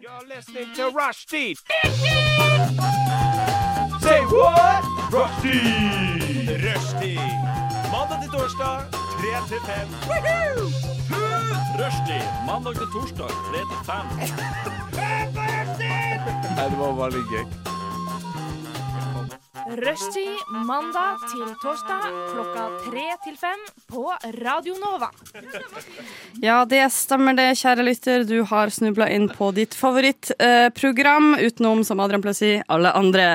You're listening to Rushdie. Say what? Rushdie. Rushdie. Mandag til torsdag, 3 til 5. Rushdie. Mandag til torsdag, 3 til 5. Rushtid mandag til torsdag klokka tre til fem på Radio Nova. Ja, det stemmer det, kjære lytter. Du har snubla inn på ditt favorittprogram, eh, utenom, som Adrian pleier å si, alle andre.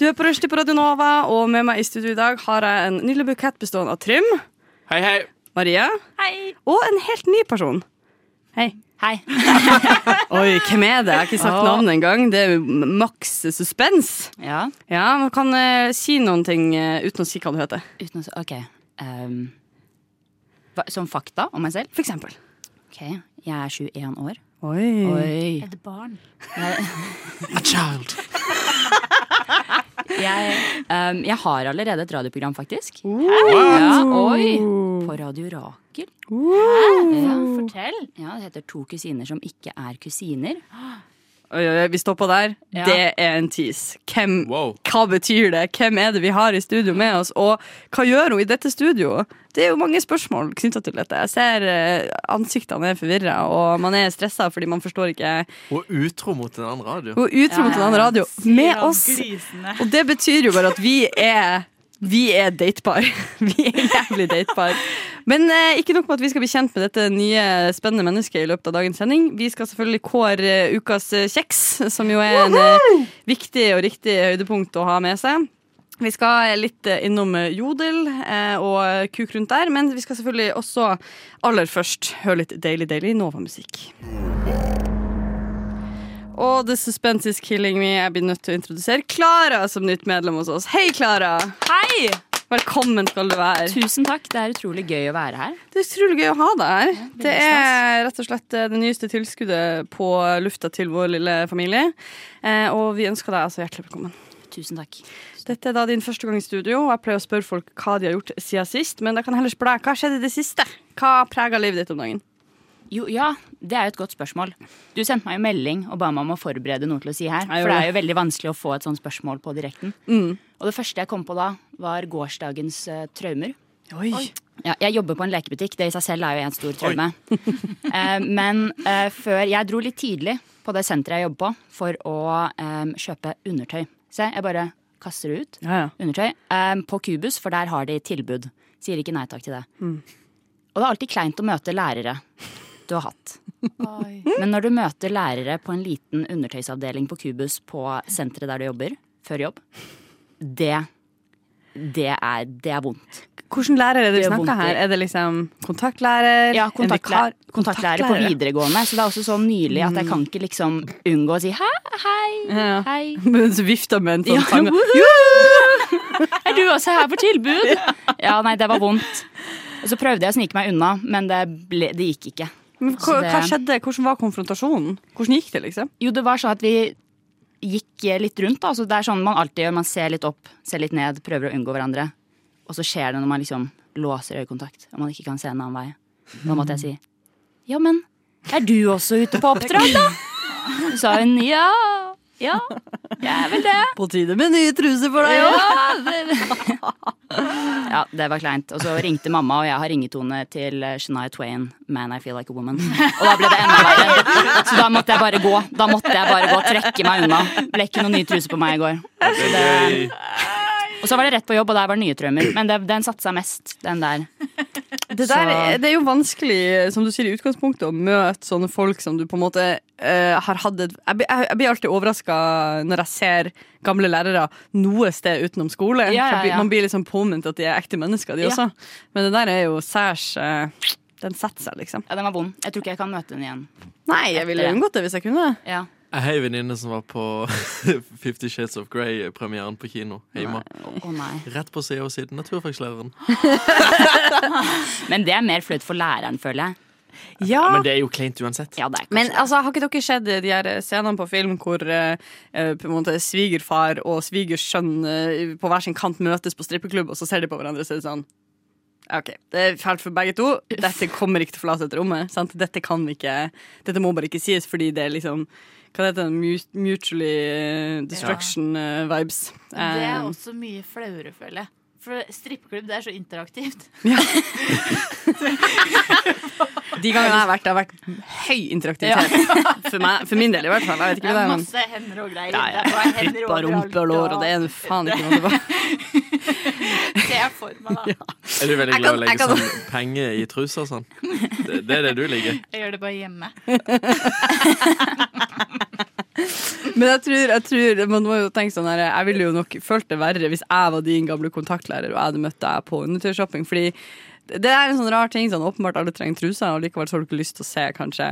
Du er på Rushdie på Radio Nova, og med meg i studio i dag har jeg en nydelig bukett bestående av Trym. Hei, hei. Marie. Hei. Og en helt ny person. Hei. Hei. Oi, hvem er det? Jeg har ikke sagt Åh. navnet engang. Det er jo maks suspens. Ja, Ja, man kan eh, si noen ting eh, uten å si hva du heter. uten å s- Ok. ehm, hva- som fakta om meg selv? For eksempel. Ok, jeg er 21 år. Oi. Oi. Et barn. Jeg, ehm, jeg har allerede et radioprogram, faktisk. Ja, oi. På Radio Rakel. Ja, fortell. Ja, det heter To kusiner som ikke er kusiner. Oi, oi, oi, vi stopper der. Ja. Det er en tease. Hvem, Hva betyr det? Hvem er det vi har i studio med oss, og hva gjør hun i dette studioet? Det er jo mange spørsmål knytta til dette. Jeg ser eh, ansiktene er forvirra, og man er stressa fordi man forstår ikke Og utro mot en annen radio. Hun er utro mot en annen radio med oss. Og det betyr jo bare at vi er vi er datepar. Vi er jævlig datepar. Men eh, ikke nok med at vi skal bli kjent med dette nye spennende mennesket i løpet av dagens sending. Vi skal selvfølgelig kåre eh, ukas eh, kjeks, som jo er en eh, viktig og riktig høydepunkt å ha med seg. Vi skal litt eh, innom eh, Jodel eh, og kuk rundt der, men vi skal selvfølgelig også aller først høre litt Daily Daily Nova-musikk. Og The Suspense Is Killing Me. Jeg blir nødt til å introdusere Klara som nytt medlem hos oss. Hei, Klara! Hei! Velkommen skal du være. Tusen takk. Det er utrolig gøy å være her. Det er utrolig gøy å ha deg her. Det stas. er rett og slett eh, det nyeste tilskuddet på lufta til vår lille familie. Eh, Og vi ønsker deg altså hjertelig velkommen. Tusen takk. Dette er da din første gang i studio, og jeg pleier å spørre folk hva de har gjort siden sist. Men jeg kan heller spørre deg, hva skjedde i det siste? Hva preger livet ditt om dagen? Jo, ja, det er jo et godt spørsmål. Du sendte meg jo melding og ba meg om å forberede noe til å si her. Jeg For det gjorde Mm. er jo veldig vanskelig å få et sånt spørsmål på direkten. Og det første jeg kom på da, var gårsdagens eh, traumer. Oi. Ja, jeg jobber på en lekebutikk, det i seg selv er jo en stor traume. Eh, men eh, før Jeg dro litt tidlig på det senteret jeg jobber på, for å eh, kjøpe undertøy. Se, jeg bare kaster det ut. Ja, ja. Undertøy. eh, på Kubus, for der har de tilbud. Sier ikke nei takk til det. Og det er alltid kleint å møte lærere du har hatt. Men når du møter lærere på en liten undertøysavdeling på Kubus på senteret der du jobber, før jobb, det, det, er, det er vondt. Hvilken lærer er det vi Det gjør snakker vondt i- her? Er det liksom kontaktlærer? Ja, En kontaktlærer, vikar? kontaktlærer på videregående. Så det er også så nylig at jeg kan ikke liksom unngå å si hæ, hei, Ja. hei. Men så vifter med en sånn Ja, tange. woohoo! Er du også her på tilbud? Ja, nei, det var vondt. Og så prøvde jeg å snike meg unna, men det, ble, det gikk ikke. Men hva, Så det- hva skjedde? Hvordan var konfrontasjonen? Hvordan gikk det, liksom? Jo, det var sånn at vi gikk eh, litt rundt, da. Så det er sånn man alltid gjør. Man ser litt opp, ser litt ned, prøver å unngå hverandre. Og så skjer det når man liksom låser øyekontakt, og man ikke kan se en annen vei. Da måtte jeg si ja, men er du også ute på oppdrag, da? Så sa hun ja. Ja, jeg er vel det. På tide med nye truser for deg òg! Ja, det... ja, det var kleint. Og så ringte mamma, og jeg har ringetone til eh, Shania Twain, 'Man I Feel Like a Woman'. Og da ble det enda verre. Så da måtte jeg bare gå. Da måtte jeg bare gå, Trekke meg unna. Ble ikke noen nye truser på meg i går. Så det... Og så var det rett på jobb, og der var det nye traumer. Men det, den satsa mest, den der. Det, der, det er jo vanskelig, som du sier i utgangspunktet, å møte sånne folk som du på en måte eh, har hatt et Jeg blir- jeg- jeg blir alltid overraska når jeg ser gamle lærere noe sted utenom skole. Ja, ja, For jeg blir- ja. Man blir liksom påminnet at de er ekte mennesker, de Ja. også. Men det der er jo særs eh, Den setter seg, liksom. Ja, den var vond. Jeg tror ikke jeg kan møte den igjen. Nei, jeg ville unngått det hvis jeg kunne. Ja. Jeg har ei venninne som var på Fifty Shades of Grey-premieren på kino hjemme. Å å nei. Rett på sida og siden naturfaglæreren. Men det er mer flaut for læreren, føler jeg. Ja, Men det er jo kleint uansett. Ja, det er kanskje Men altså, har ikke dere sett de her scenene på film hvor eh, eh, på en måte svigerfar og svigersønn eh, på hver sin kant møtes på strippeklubb, og så ser de på hverandre og så er det sånn «Ja, OK, det er fælt for begge to. Dette kommer ikke til å forlate dette rommet. Sant? Dette kan vi ikke Dette må bare ikke sies, fordi det er liksom Hva heter den? Mut- Mutually eh, destruction-vibes. Men Eh, Det Um, er også mye flauere, føler jeg. For strippeklubb, det er så interaktivt. De gangene jeg har vært, det har vært høy interaktivitet. For, meg, for min del, i hvert fall. Jeg vet Det ikke hva er det er, men masse hender og greier. ja, Det ja. er bare hender Pupper, overalt, rumpe og lår, og det er jo faen ikke noe det var. ser jeg for meg, da. Er du veldig Jeg glad kan- i å jeg legge kan- sånn penger i trusa og sånn? Det, det er det du liker. Jeg gjør det bare hjemme. Men jeg tror, jeg tror man må jo tenke sånn her, jeg ville jo nok følt det verre hvis jeg var din gamle kontaktlærer og jeg hadde møtt deg på undertøyshopping. Fordi det er en sånn rar ting. sånn Åpenbart alle trenger truser, og likevel så har du ikke lyst til å se kanskje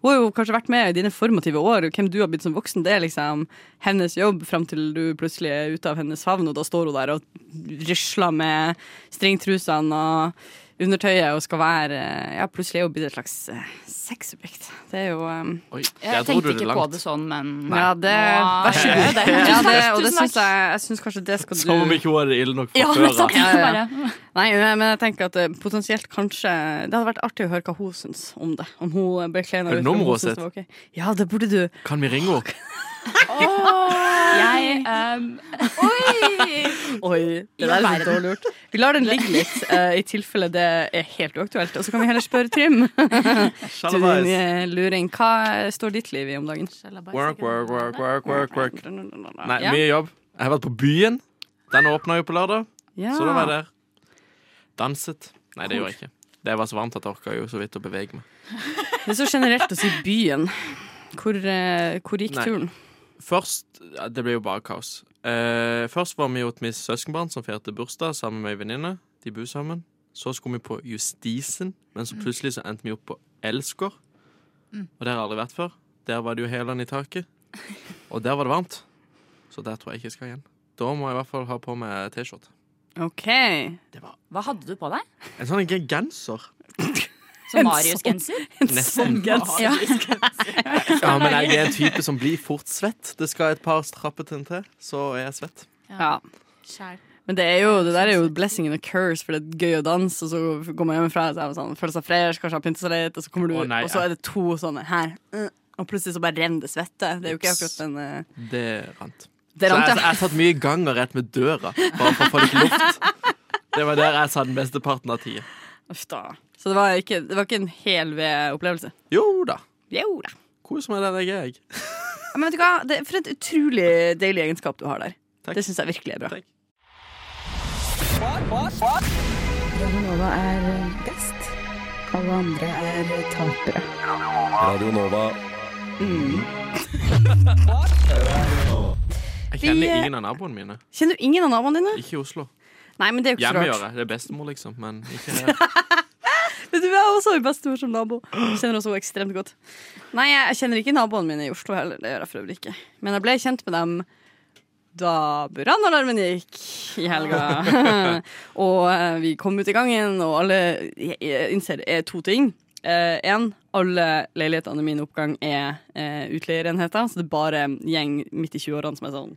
Hun har jo kanskje vært med i dine formative år, og hvem du har blitt som voksen, det er liksom hennes jobb fram til du plutselig er ute av hennes favn, og da står hun der og risler med stringtrusene og undertøyet og skal være Ja, plutselig er hun blitt et slags eh, sexobjekt. Det er jo eh, Oi, Jeg der dro du tenkte det ikke på det langt. sånn, men ja, det, Nei. vær så god. Ja, det, og det Tusen syns jeg, jeg syns kanskje det skal du Som om ikke hun hadde det ille nok fra Ja, før sant. av. Ja, ja, ja. Bare- Nei, men jeg tenker at eh, potensielt kanskje Det hadde vært artig å høre hva hun syns om det. Om hun eh, ble kleina Er det nummeret synes det var ok. Ja, det burde du. Kan vi ringe henne? Jeg ehm, Oi, det der er så dårlig gjort. Vi lar den ligge litt, eh, i tilfelle det er helt uaktuelt. Og så kan vi heller spørre Trym, din Shalabais. eh, luring. Hva står ditt liv i om dagen? Shalabais, Work, ikke noe work, work, annet. work, work, work. Nei, Ja. mye jobb. Jeg har vært på byen. Den åpna jo på lørdag, Ja. så da var jeg der. Danset. Nei, det gjorde jeg ikke. Det var så varmt at jeg orka jo så vidt å bevege meg. Det er så generelt å si byen. Hvor, eh, hvor gikk Nei. turen? Først ja, Det ble jo bare kaos. Eh, først var vi jo til mitt søskenbarn som feirte bursdag sammen med ei venninne. De bor sammen. Så skulle vi på Justisen, men så plutselig så endte vi opp på Elsker. Og der har jeg aldri vært før. Der var det jo hælene i taket. Og der var det varmt. Så der tror jeg ikke jeg skal igjen. Da må jeg i hvert fall ha på meg T-skjorte. OK. Hva hadde du på deg? En sånn gen- genser. Som Marius-genser? Nesten. Ja. Ja, men jeg er en type som blir fort svett. Det skal et par trappetrinn til, så er jeg svett. Ja. Skjær. Men det er jo, det der er jo blessing and a curse, for det er gøy å danse, og så går man hjemmefra og så er man sånn, føler seg fresh, kanskje har pyntet seg litt, og så kommer du, Å, nei, og så er det to sånne her, øh, og plutselig så bare renner det svette. Det er jo ikke Ups. akkurat en eh, Det rant. Det Så jeg, rant, jeg har tatt mye ganger rett med døra, bare for å få litt luft. Det var der jeg sa den beste parten av tida. ja. Uff da. Så det var ikke, det var ikke en hel ved opplevelse. Jo da. Jo da. Kos meg den jeg er, jeg. Ja, Men vet du hva, det, for et utrolig deilig egenskap du har der. Takk. Det synes jeg virkelig er bra. Takk. Radio Nova. Mm. Vi, Jeg kjenner eh, ingen av naboene mine. Kjenner du ingen av naboene dine? Ikke i Oslo. Nei, men det er jo ikke så Hjemme rart. gjør jeg. Det er bestemor, liksom. Men ikke her. Men du jeg har også har bestemor som nabo. Jeg Kjenner også henne ekstremt godt. Nei, jeg kjenner ikke naboene mine i Oslo heller. Det gjør jeg for øvrig ikke. Men jeg ble kjent med dem da brannalarmen gikk i helga. og eh, vi kom ut i gangen, og alle jeg, jeg innser er to ting. Én, alle leilighetene i min oppgang er eh, utleierenheter, så det er bare en gjeng midt i 20-årene som er sånn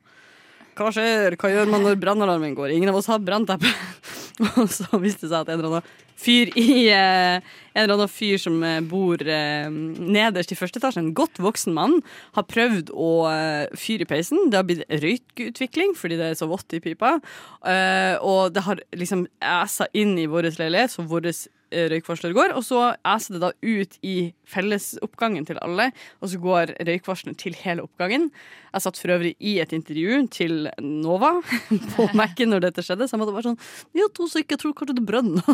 Hva skjer? Hva gjør man når brannalarmen går? Ingen av oss har brannteppe. og så viste det seg at en eller annen fyr i eh, En eller annen fyr som eh, bor eh, nederst i første etasje, en godt voksen mann, har prøvd å eh, fyre i peisen. Det har blitt røykutvikling fordi det er så vått i pipa. Eh, og det har liksom æsa inn i vår leilighet, så vår røykvarsler går. Og så æser det da ut i fellesoppgangen til alle, og så går røykvarsleren til hele oppgangen. Jeg satt for øvrig i et intervju til Nova på Mac-en når dette skjedde, så jeg måtte bare sånn vi har to stykker, jeg tror kanskje det brønner.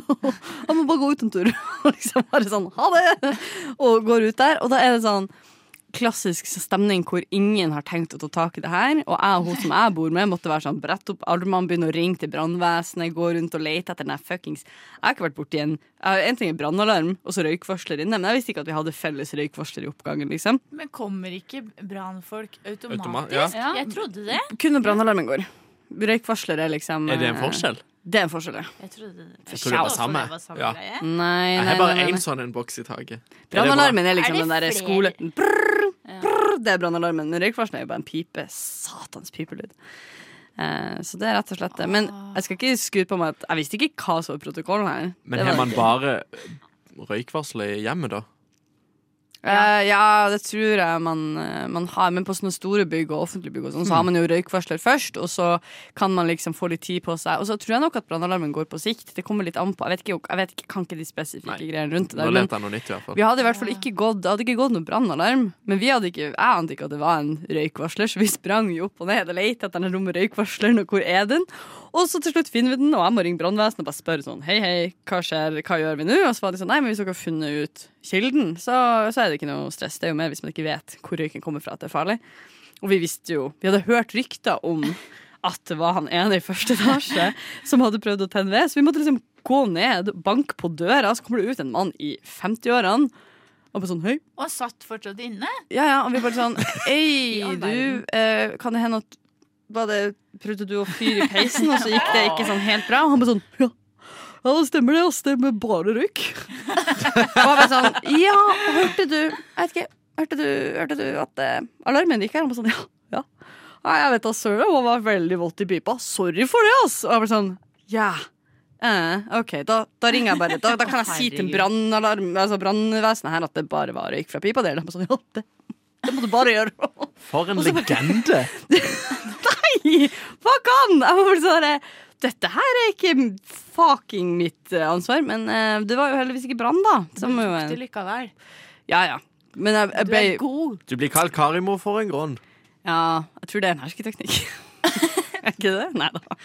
Jeg må bare gå ut en tur. Og liksom bare sånn, ha det! Og går ut der, og da er det sånn klassisk stemning hvor ingen har tenkt å ta tak i det her. Og jeg og hun som jeg bor med, måtte være sånn brett opp armene, begynne å ringe til brannvesenet, gå rundt og lete etter den her fuckings Jeg har ikke vært borti en jeg- En ting er brannalarm, og så røykvarsler inne, men jeg visste ikke at vi hadde felles røykvarsler i oppgangen, liksom. Men kommer ikke brannfolk automatisk? Automat- ja. Ja. Jeg trodde det. Kun når brannalarmen går. Røykvarsler er liksom Er det en eh, forskjell? Det er en forskjell, ja. Jeg trodde det. Jeg trodde det var samme. Det var samme Ja. greie. Nei, Jeg nei, har bare nei, nei, én nei. sånn en boks i taket. Er det bra? Brannalarmen er liksom Er det den derre flere? skole... Brrr, brrr, det er brannalarmen. Men røykvarsleren er jo bare en pipe. Satans pipelyd. Eh, så det er rett og slett det. Men Ah. jeg skal ikke skryte på meg at jeg visste ikke hva som var protokollen her. Men Det har var- man bare røykvarsel i hjemmet, da? Eh, ja, det tror jeg man, eh, man har. Men på sånne store bygg og offentlige bygg og sånn, så har man jo røykvarsler først, og så kan man liksom få litt tid på seg. Og så tror jeg nok at brannalarmen går på sikt. Det kommer litt an på. Jeg vet ikke, jeg vet ikke kan ikke de spesifikke Nei. greiene rundt det Nå der. Men lærte jeg noe nytt, i hvert fall. vi hadde i hvert fall ikke gått, det hadde ikke gått noen brannalarm. Men vi hadde ikke, jeg ante ikke at det var en røykvarsler, så vi sprang jo opp og ned og lette etter den dumme røykvarsleren, og hvor er den? Og så til slutt finner vi den, og jeg må ringe brannvesenet og bare spørre sånn hei, hei, hva skjer, hva gjør vi nå? Og så var de sånn nei, men hvis dere har funnet ut kilden, så, så er det ikke noe stress. Det er jo mer hvis man ikke vet hvor røyken kommer fra at det er farlig. Og vi visste jo, vi hadde hørt rykter om at det var han ene i første etasje som hadde prøvd å tenne ved. Så vi måtte liksom gå ned, banke på døra, så kommer det ut en mann i 50-årene. Og bare sånn, hei. Og han satt fortsatt inne. Ja, ja, og vi bare sånn, ei, all du, eh, kan det hende at var det, prøvde du å fyre i peisen, og så gikk det ikke sånn helt bra? Og han bare sånn, ja. Ja, det stemmer det, ass. Det er med bare røyk. Og han bare sånn, ja, hørte du, jeg vet ikke, hørte du, hørte du at eh, alarmen gikk her? Han bare sånn, ja, ja. Nei, jeg vet da, søren, det var veldig vått i pipa. Sorry for det, ass. Og jeg bare sånn, ja. Eh, ok, da, da ringer jeg bare. Da, da kan jeg si til Herregud. brannalarm, altså brannvesenet her at det bare var røyk fra pipa. Det, er det. Han bare sånn, ja, det, det må du bare gjøre. For en legende! Nei, hva kan? Jeg var bare sånn eh, Dette her er ikke fucking mitt eh, ansvar, men eh, det var jo heldigvis ikke brann, da. Som jo Du en likevel. Ja, ja. Men jeg, jeg Du ble er god. Du blir kalt Karimo for en grunn. Ja, jeg tror det er en hersketeknikk. er ikke det? Nei da.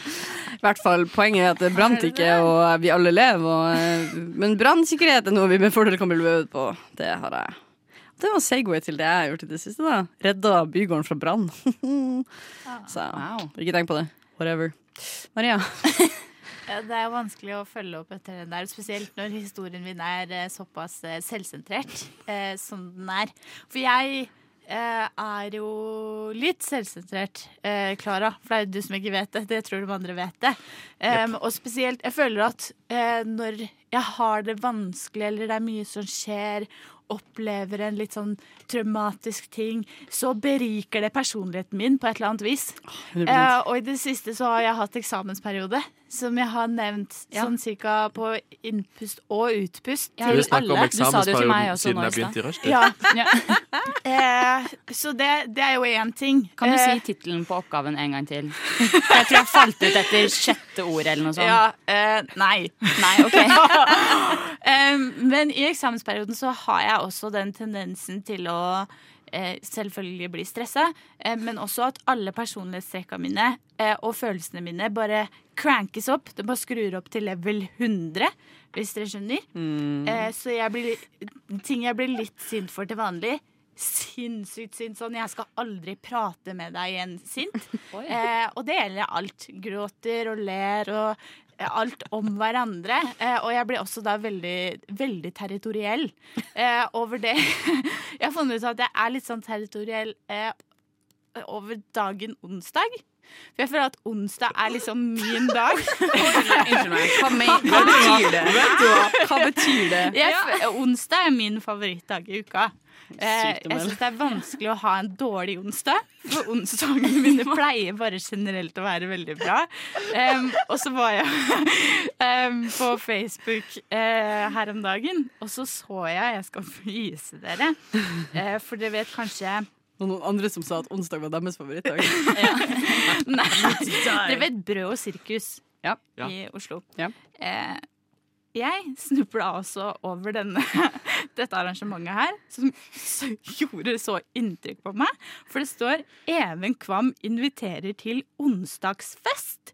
I hvert fall, poenget er at det brant ikke, og vi alle lever. Og, eh, men brannsikkerhet er noe vi med fordel kan bli øvd på. Det har jeg. Det var Segway til det jeg har gjort i det siste. da Redda bygården fra brann. Så Wow. ikke tenk på det. Whatever. Maria. Ja, Det er vanskelig å følge opp etter den der, spesielt når historien min er eh, såpass eh, selvsentrert eh, som den er. For jeg eh, er jo litt selvsentrert, eh, Klara. For det er jo du som ikke vet det. Det tror de andre vet det. Em, Og spesielt, jeg føler at eh, når jeg har det vanskelig, eller det er mye som skjer, opplever en litt sånn traumatisk ting, så beriker det personligheten min på et eller annet vis. 100%. Eh, og i det siste så har jeg hatt eksamensperiode, som jeg har nevnt sånn cirka på innpust og utpust Du Vi til snakker om alle. Du sa det jo til meg eksamensperioden også siden nå i jeg begynte i rushtid. Ja, Ja. eh, så det, det er jo én ting. Kan du si Eh, tittelen på oppgaven en gang til? For jeg tror jeg falt ut etter sjette ord eller noe sånt. ja, eh, Nei. sånn. Nei, ok. Eh, men i eksamensperioden så har jeg også den tendensen til å eh, selvfølgelig bli stressa, eh, men også at alle personlighetstrekka mine eh, og følelsene mine bare crankes opp. De bare skrur opp til level 100, hvis dere skjønner. Mm. Eh, så jeg blir, li- ting jeg blir litt sint for til vanlig. Sinnssykt sint. Sånn, jeg skal aldri prate med deg igjen sint. Eh, og det gjelder alt. Gråter og ler og eh, alt om hverandre. Eh, og jeg blir også da veldig, veldig territoriell eh, over det. jeg har funnet ut at jeg er litt sånn territoriell eh, over dagen onsdag. For jeg føler at onsdag er liksom min dag. Unnskyld meg. Hva, me- hva betyr det? Hva betyr det? Jeg, f- Onsdag er min favorittdag i uka. Eh, Sykt å jeg melde. syns det er vanskelig å ha en dårlig onsdag, for onsdagene mine pleier bare generelt å være veldig bra. Em, og så var jeg em, på Facebook eh, her om dagen, og så så jeg Jeg skal vise dere, eh, for dere vet kanskje Og noen andre som sa at onsdag var deres favorittdag. Nei, dere vet Brød og sirkus Ja. i Oslo. Ja. Eh, jeg snubla også over denne, dette arrangementet her, som s- gjorde så inntrykk på meg. For det står 'Even Kvam inviterer til onsdagsfest'.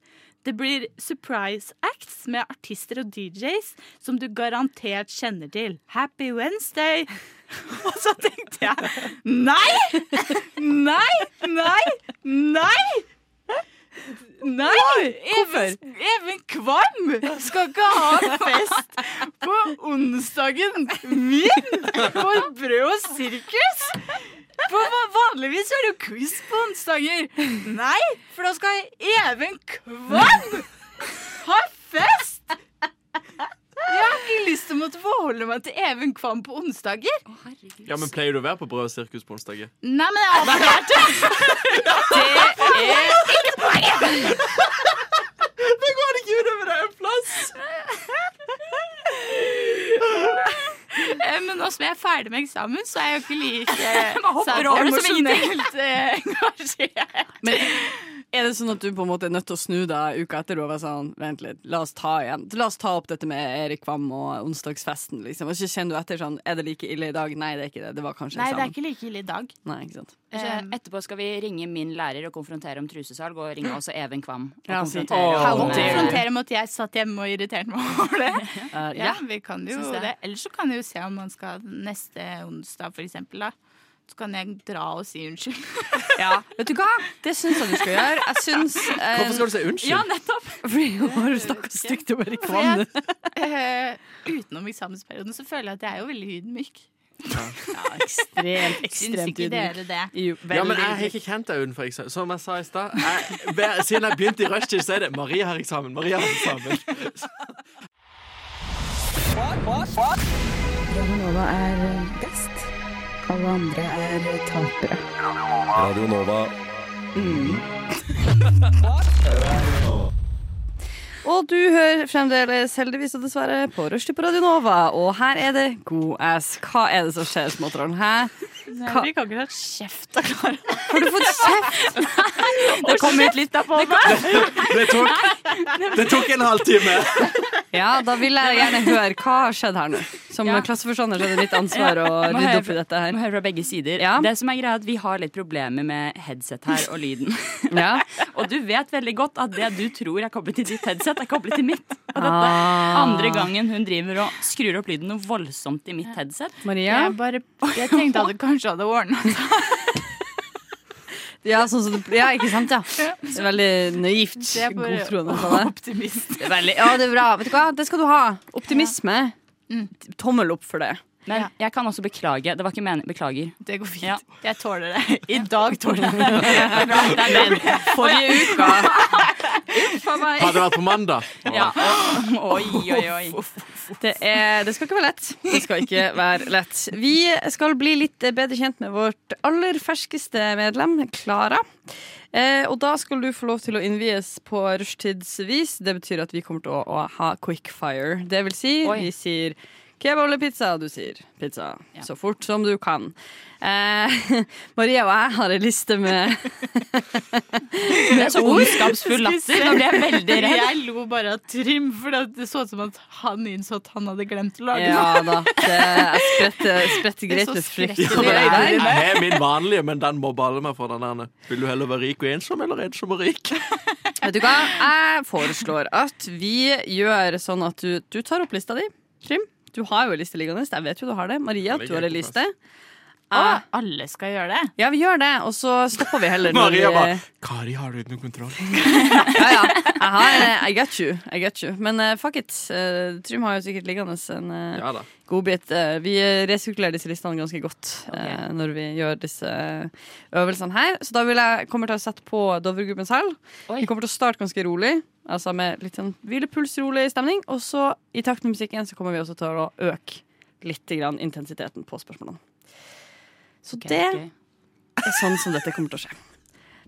Det blir surprise acts med artister og DJs som du garantert kjenner til. Happy Wednesday! Og så tenkte jeg nei! Nei! Nei! Nei! Nei! Even, Even Kvam skal ikke ha en fest på onsdagen min på brød og sirkus! På, va- vanligvis er det jo quiz på onsdager. Nei, for da skal Even Kvam ha fest! Jeg har ikke lyst til å måtte forholde meg til Even Kvam på onsdager. Ja, men Pleier du å være på Brød og sirkus på onsdager? Nei, men jeg har Eh, Men nå som jeg er ferdig med eksamen, så er jeg jo ikke like hopper sånn over det som emosjonelt eh, engasjert. Men er det sånn at du på en måte er nødt til å snu deg uka etter og være sånn Vent litt, la oss ta igjen La oss ta opp dette med Erik Kvam og onsdagsfesten, liksom. Og så kjenner du etter sånn Er det like ille i dag? Nei, det er ikke det. Det var kanskje Nei, det er eksamen. ikke like ille i dag. Eh, Nei, ikke sant. Kanskje Eh, Etterpå skal vi ringe min lærer og konfrontere om trusesalg, og ringe også Even Kvam. Og Ja, si- konfrontere Åh. om- eh, Kan Åh. konfrontere med at jeg satt hjemme og irriterte meg over det. Eh, Ja, vi kan jo Syns det. det. Ellers så kan vi jo se om man skal neste onsdag, for eksempel. Da. Så kan jeg dra og si unnskyld. Vet du hva? Det syns jeg du skal gjøre. Jeg syns eh, Hvorfor skal du si unnskyld? Ja, nettopp! Fordi hun har snakka stygt om Erik For Kvam. jeg, eh, utenom eksamensperioden så føler jeg at jeg er jo veldig ydmyk. Ekstremt, Syns ikke dere det? Jo, Ja, men veldig. jeg har ikke kjent deg utenfor eksamen. Som jeg sa i stad, jeg- hver- siden jeg begynte i rushtid, så er det 'Marie har eksamen', 'Marie har eksamen'. Radio Nova. Og du hører fremdeles, heldigvis og dessverre, på Rushdie på Radio Nova. Og her er det god ass. Hva er det som skjer, småtroll? Hæ? Hva- Henrik har ikke tatt kjeft av Klara. Har du fått kjeft? Det kom ut litt på meg. Det tok, det tok en halvtime. Ja, da vil jeg gjerne høre hva har skjedd her nå. Som Ja. klasseforstander så er det mitt ansvar å Må rydde høre opp i dette Må her. høre fra begge sider. Ja. Det som er greia er at Vi har litt problemer med headset her og lyden. Ja. og du vet veldig godt at det du tror er koblet til ditt headset, er koblet til mitt. Og dette er Ah. andre gangen hun driver og skrur opp lyden noe voldsomt i mitt headset. Ah, Maria? Jeg, bare, jeg tenkte at det kanskje hadde ordna seg. Ja, sånn som du, ja, ikke sant, ja. Det er veldig naivt. Det er bare Godtroende av deg. Optimist. Det er veldig- Ja, det er bra. Vet du hva, det skal du ha. Optimisme. Mm. Tommel opp for det. Men Ja. jeg kan også beklage. Det var ikke meningen. Beklager. Det går fint. Ja. Jeg tåler det. I dag tåler jeg det. Det er den. Forrige uke Hadde det vært på mandag Ja. Oi, oi, oi. Det, er, det skal ikke være lett. Det skal ikke være lett. Vi skal bli litt bedre kjent med vårt aller ferskeste medlem, Klara. Eh, og da skal du få lov til å innvies på rushtidsvis. Det betyr at vi kommer til å, å ha quickfire. Det vil si, Oi. vi sier kebab eller pizza, du sier pizza. Ja. Så fort som du kan. Eh, Maria og jeg har en liste med Det er så ondskapsfull latter. Nå ble jeg veldig redd. Jeg lo bare av Trym, for det så ut som at han innså at han hadde glemt å lage noe. Ja da. Det jeg spretter, spretter greit så ut frykt. skrekkelig i øynene. Jeg har min vanlige, men den må balle meg for den her. Vil du heller være rik og ensom, eller ensom og rik? Vet du hva? Jeg foreslår at vi gjør sånn at du, du tar opp lista di, Trym. Du har jo en liste liggende. Jeg vet jo du har det. Maria, Den du har en ligger på liste. Å, Ah, Jeg- alle skal gjøre det. Ja, vi gjør det, og så stopper vi heller. når vi- Maria bare 'Kari, har du uten kontroll?' Ja, ja. Jeg har, eh, I get you. I get you. Men eh, fuck it. Eh, Trym har jo sikkert liggende en eh, Ja da. godbit. Eh, vi resirkulerer disse listene ganske godt eh, når vi gjør disse eh, øvelsene her. Så da vil jeg, kommer jeg til å sette på Dovregruppens hall. Oi. Vi kommer til å starte ganske rolig, altså med litt sånn hvilepuls, rolig stemning. Og så i takt med musikken så kommer vi også til å øke litt grann intensiteten på spørsmålene. Så det Ok. er sånn som dette kommer til å skje.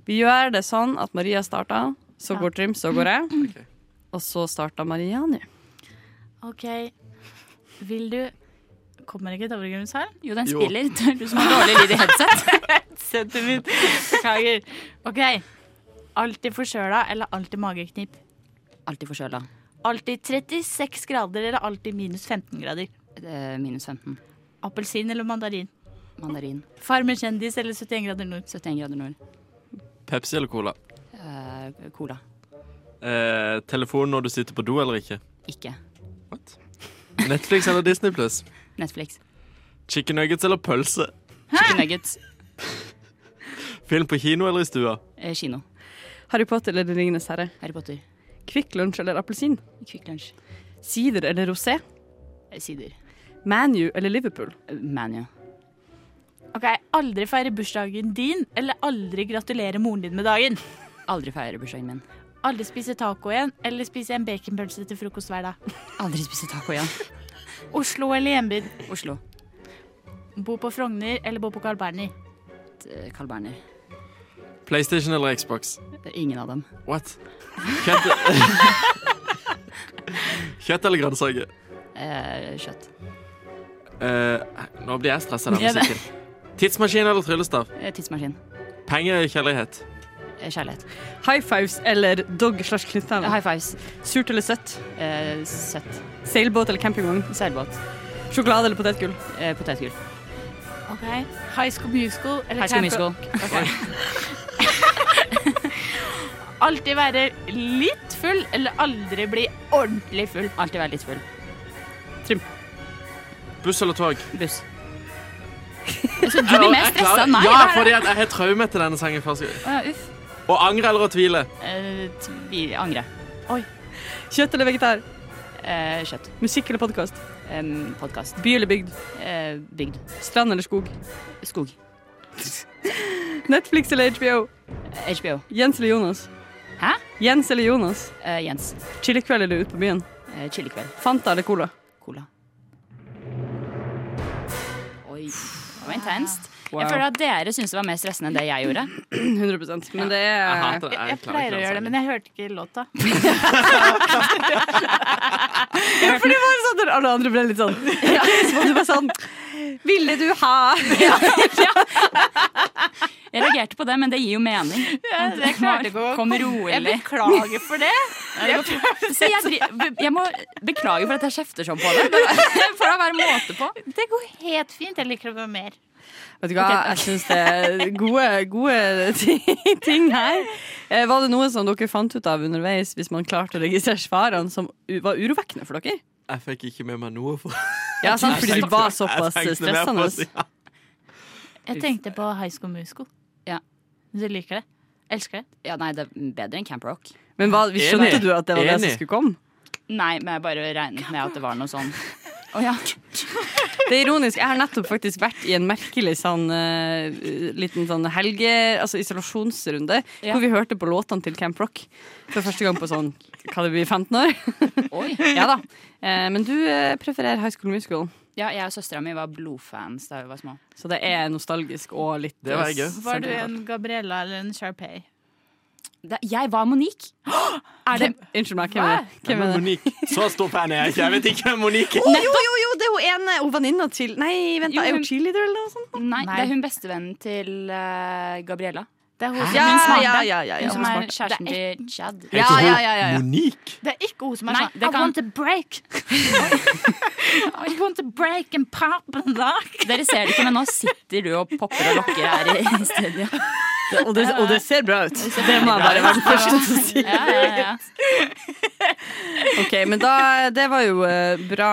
Vi gjør det sånn at Maria starter, så går Trym, så går jeg. Ok. Og så starter Maria nå. OK. Vil du Kommer ikke Dovregrunns her? Jo, den Jo. spiller. Du som har dårlig lyd i headset. Settet mitt. Beklager. OK. Alltid forkjøla eller alltid mageknip? Alltid forkjøla. Alltid 36 grader eller alltid minus 15 grader? Eh, Minus 15. Appelsin eller mandarin? Mandarin. Farmen kjendis eller 71 grader nord? 71 grader nord. Pepsi eller cola? Eh, cola. Eh, telefon når du sitter på do, eller ikke? Ikke. Netflix eller Disney Plus? Netflix. Chicken nuggets eller pølse? Chicken nuggets. Film på kino eller i stua? Eh, kino. Harry Potter eller Det ringenes herre? Harry Potter. Kvikk Lunsj eller appelsin? Kvikk Lunsj. Sider eller rosé? Eh, Sider. ManU eller Liverpool? Eh, Manu. OK. Aldri feire bursdagen din eller aldri gratulere moren din med dagen? Aldri feire bursdagen min. Aldri spise taco igjen eller spise en baconpølse til frokost hver dag? Aldri spise taco igjen. Oslo eller hjembygd? Oslo. Bo på Frogner eller bo på Carl Berner? Eh, Carl Berner. PlayStation eller Xbox? Det er Ingen av dem. What? Kjøtt, Kjøtt eller grønnsaker? Eh, kjøtt. Eh, nå blir jeg stressa av Ja, den det- musikken. Tidsmaskin eller tryllestav? Eh, Tidsmaskin. Penger eller kjærlighet? Eh, Kjærlighet. High fives eller dog slash Eh, knyttneve? High fives. Surt eller søtt? Eh, Søtt. Seilbåt eller campingvogn? Seilbåt. Sjokolade eller potetgull? Eh, Potetgull. Ok. High School Musical eller High School Camp- Musical. Alltid være litt full eller aldri bli ordentlig full. Alltid være litt full. Buss eller tog? Buss. Så du blir mer Jeg stressa klarer- enn meg? Ja, hva er det? fordi at jeg har traume til denne sangen. første gang. Å, ja, uff. Å angre eller å tvile? Eh, tvi- Angre. Kjøtt eller vegetar? Eh, Kjøtt. Musikk eller podkast? Um, Podkast. By eller bygd? Eh, Bygd. Strand eller skog? Skog. Netflix eller HBO? Eh, HBO. Jens eller Jonas? Hæ? Jens eller Jonas? Eh, Jens. Chillekveld eller Ute på byen? Eh, Chillekveld. Fanta eller Cola? Cola. Oi, det var intenst. Wow. Jeg føler at dere syntes det var mer stressende enn det jeg gjorde. 100 Men det Jeg er hater det. Jeg, Jeg klarer pleier ikke den å gjøre det, sangen. men jeg hørte ikke låta. Ja, for det var sånn når alle andre ble litt sånn Så var du bare sånn Ville du ha Jeg reagerte på det, men det gir jo mening. Jeg klarte ikke å Kom Jeg rolig. beklager for det. Så jeg, dri- jeg må beklage for at jeg kjefter sånn på det. men For å være måte på. Det går helt fint. Jeg liker å være mer. Vet du hva, jeg synes det er gode, gode ti- ting her Eh, Var det noe som dere fant ut av underveis Hvis man klarte å registrere svarene Som u- var urovekkende for dere? Jeg fikk ikke med meg noe. For. Ja, sant, fordi det var sånn. Jeg såpass tenkte mer på stressende altså. det, ja. Jeg tenkte på High School Musical. Ja. Du liker det? Elsker det? Ja, nei, det er bedre enn Camp Rock. Men hva, vi skjønte Enig. du at det var det som Enig. skulle komme? Nei, men jeg bare regnet med at det var noe sånn. Å ja. Det er ironisk, jeg har nettopp faktisk vært i en merkelig sånn eh, liten sånn helge, altså isolasjonsrunde, Ja. hvor vi hørte på låtene til Camp Rock for første gang på sånn, hva det blir, 15 år? Oi. ja da. Eh, men du eh, prefererer High School Musical, Ja, jeg og søstera mi var blodfans da vi var små. så det er nostalgisk og litt eh, Det var gøy. Var du en Gabriella eller en Sharpay? Det, jeg var Monique. Er det Unnskyld meg, hvem er, Hvem hvem er er det? Monique? Så stor fan er jeg ikke. Jeg vet ikke hvem Monique er. Jo, jo, jo, det er hun ene, hun venninna til Nei, vent, Jo, da, er hun hun- cheerleader eller noe sånt? Nei, det er hun bestevennen til eh, Gabriella. Det er, hun som, Ja, Hun smarte. ja, ja, ja, ja. Hun som er smarte. kjæresten til Chad. Ja, ja, ja, ja, ja. Monique? det er ikke hun som er Nei, sånn det I kan- want a break. I want a break and pop and lock. Dere ser det ikke, men nå sitter du og popper og lokker her i, i studio. Og det, og det ser bra ut. Det må jeg bare være den første til å si. Ja, ja, ja. Ok, men da, Det var jo eh, bra,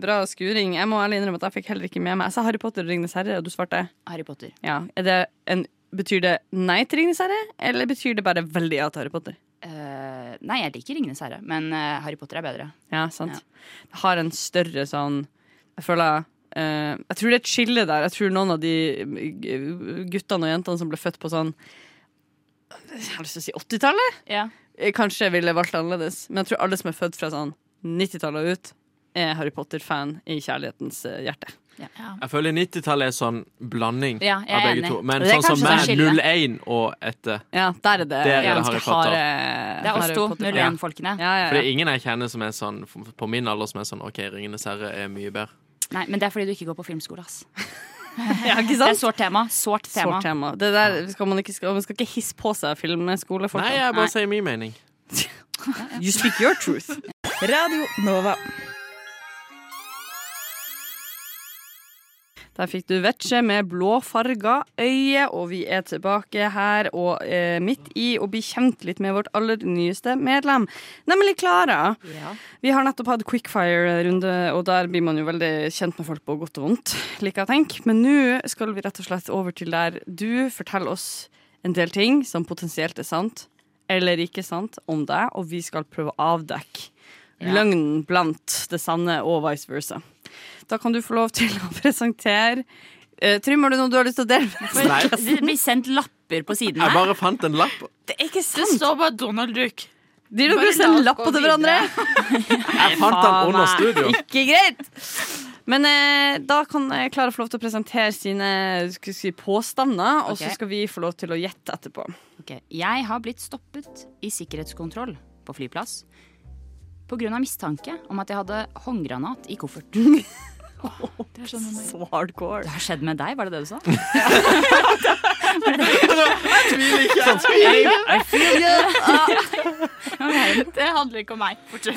bra skuring. Jeg må ærlig innrømme at jeg fikk heller ikke med meg. Jeg sa Harry Potter og Ringenes herre, og du svarte Harry Potter. ja. Er det en, betyr det nei til Ringenes herre, eller betyr det bare veldig ja til Harry Potter? Eh, nei, jeg liker Ringenes herre, men eh, Harry Potter er bedre. Ja, sant. Det har en større sånn Jeg føler eh, Jeg tror det er et skille der. Jeg tror noen av de eh, guttene og jentene som ble født på sånn Jeg har lyst til å si 80-tallet, Ja. eh, kanskje ville valgt annerledes. Men jeg tror alle som er født fra sånn 90-tallet og ut, er Harry Potter-fan i kjærlighetens eh, hjerte. Jeg føler 90-tallet er sånn blanding Ja, jeg er av begge enig. to. Men Det er sånn som kanskje meg, sånn skille. 01 og etter. Ja, der er det Der er det ganske Harry Potter. harde Det er oss Harry to, Potter- Ja. 01-folkene. Ja, ja, For det ja. er ingen jeg kjenner som er sånn f- på min alder som er sånn OK, Ringenes herre er mye bedre. Nei, men det er fordi du ikke går på filmskole, ass. ja, ikke Det er sant? sårt tema. Sårt tema. Svårt tema. Det der skal man, ikke, skal, man skal ikke hisse på seg filmskolefolk. Nei, jeg Nei. bare sier min mening. You speak your truth. Radio Nova. Der fikk du Vetche med blåfarga øye, og vi er tilbake her og eh, midt i å bli kjent litt med vårt aller nyeste medlem, nemlig Klara. Ja. Vi har nettopp hatt quickfire-runde, og der blir man jo veldig kjent med folk på godt og vondt, liker jeg å tenke. Men nå skal vi rett og slett over til der du forteller oss en del ting som potensielt er sant eller ikke sant om deg, og vi skal prøve å avdekke Ja. løgnen blant det sanne og vice versa. Da kan du få lov til å presentere Eh, Trym, har du noe du har lyst til å dele? med oss? Nei. Det blir sendt lapper på siden Jeg her. bare fant en lapp. Det er ikke Det sant! står bare Donald Duck. Gir dere Bare oss la en oss lapp gå på til videre. hverandre? Jeg fant den under faen meg. studio. Ikke greit! Men eh, da kan eh, Klara få lov til å presentere sine skal vi si, påstander, og så Ok. skal vi få lov til å gjette etterpå. Ok, Jeg har blitt stoppet i sikkerhetskontroll på flyplass pga. mistanke om at jeg hadde håndgranat i koffert. Det er sånn Så hardcore. Det har skjedd med deg, var det det du sa? Det handler ikke om meg. Fortsett.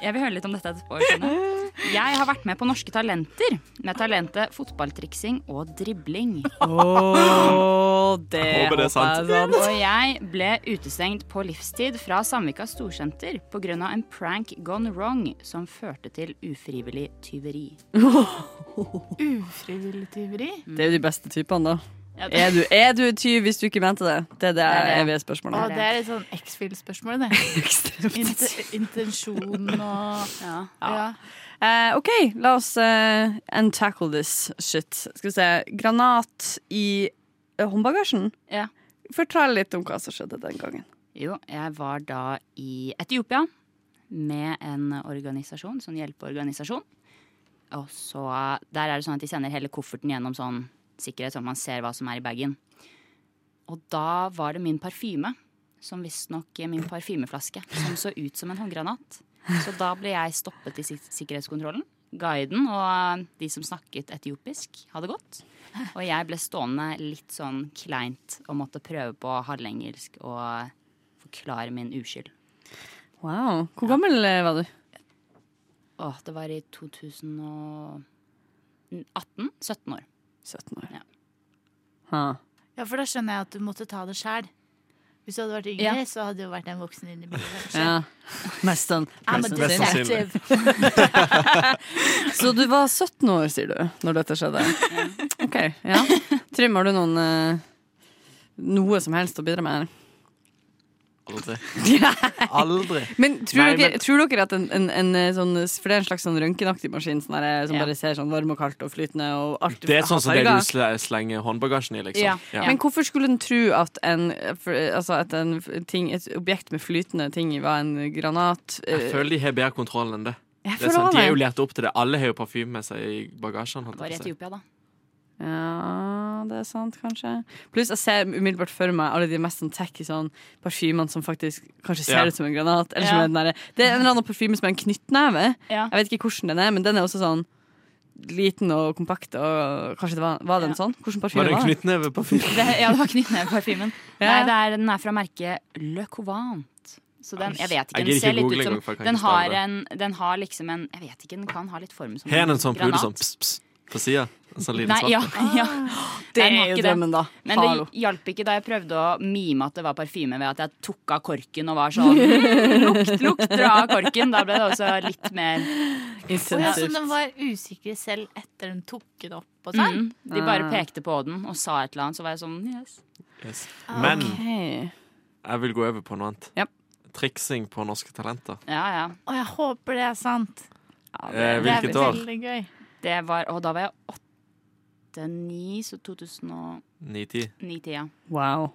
Jeg vil høre litt om dette etterpå. skjønner Jeg Jeg har vært med på Norske Talenter med talentet fotballtriksing og dribling. det Håper det er sant. jeg er sant. Og jeg ble utestengt på livstid fra Samvika storsenter pga. en prank gone wrong som førte til ufrivillig tyveri. Ufrivillig tyveri. Det er jo de beste typene, da. Ja, det- Er du, er du tyv hvis du ikke mente det? Det er det er det. evige Å, spørsmålet. det er et sånn X-Fill-spørsmål, det. Ekstremt. Int- intensjon og Ja. Ja. Eh, OK, la oss uh, untackle this shit. Skal vi se. Granat i eh, håndbagasjen? Ja. Fortell litt om hva som skjedde den gangen. Jo, jeg var da i Etiopia med en organisasjon, sånn hjelpeorganisasjon. Og så Der er det sånn at de sender hele kofferten gjennom sånn sikkerhet, sånn at man ser hva som er i bagen. Og da var det min parfyme, som visstnok min parfymeflaske, som så ut som en håndgranat. Så da ble jeg stoppet i sik sikkerhetskontrollen. Guiden og de som snakket etiopisk, hadde gått. Og jeg ble stående litt sånn kleint og måtte prøve på halvengelsk og forklare min uskyld. Wow. Hvor gammel eh, var du? Åh, det var i 2018? 17 år. 17 år. Ja. Ha. ja, for da skjønner jeg at du måtte ta det sjæl. Hvis du hadde vært yngre, Ja. så hadde du vært en voksen inni bilen. Ja. Mest sånn. I'm a Mest sannsynlig. detective. Så du var 17 år, sier du, når dette skjedde? OK. Ja. Trym, har du noen eh, noe som helst å bidra med? her? Aldri. Aldri. Men tror, Nei, dere, men- tror dere at en, en, en eh, sånn For det er en slags sånn røntgenaktig maskin sånn der, som Ja. bare ser sånn varm og kaldt og flytende og alt Det er sånn som har det du farger. sle- slenger håndbagasjen i, liksom. Ja. Ja. Men hvorfor skulle den tro at, en, eh, for, eh, altså at en f- ting, et objekt med flytende ting var en granat? eh? eh, Jeg føler de har bedre kontroll enn det. Jeg det er føler sant. De det. er jo lært opp til det. Alle har jo parfyme med seg i bagasjen. holdt Det var i jeg på å si. Etiopia, da. Ja, det er sant, kanskje. Pluss jeg ser umiddelbart for meg alle de mest sånn tacky sånn parfymene som faktisk kanskje ser Ja. ut som en granat. Eller som Ja. er den derre- det er en eller annen parfyme som er en knyttneve. Ja. Jeg vet ikke hvordan den er, men den er også sånn liten og kompakt. Og kanskje det var, var den sånn? Hvordan parfyme Var det en var det? knyttneveparfyme? Det, ja, det var knyttneveparfymen. Ja. Nei, det er, den er fra merket Le Covant. Så den, jeg vet ikke, Jeg den gidder ser ikke litt google ut som engang, for jeg kan den ikke stave har, det. en, den har liksom en Jeg vet ikke, den kan ha litt form som Har den en sånn pude granat. som pss, pss, på sida? En sånn liten Nei, svart? ja, ja. Det er Nei, den har jo ikke det. drømmen, da. Men Hallo. det hjalp ikke da jeg prøvde å mime at det var parfyme ved at jeg tok av korken og var sånn «Mm, Lukt, lukt, dra av korken. Da ble det også litt mer Å, ja, så Intensivt. den var usikker selv etter den tok den opp og sånn? mm. De bare pekte på den og sa et eller annet, så var jeg sånn yes. Yes. Ah, Men Ok. jeg vil gå over på noe annet. Ja. Triksing på Norske Talenter. Ja, ja. Og jeg håper det er sant. Eh, Det er hvilket år? veldig gøy. Det var Og da var jeg åtte-ni, så 2009-tida. 9-10. Wow.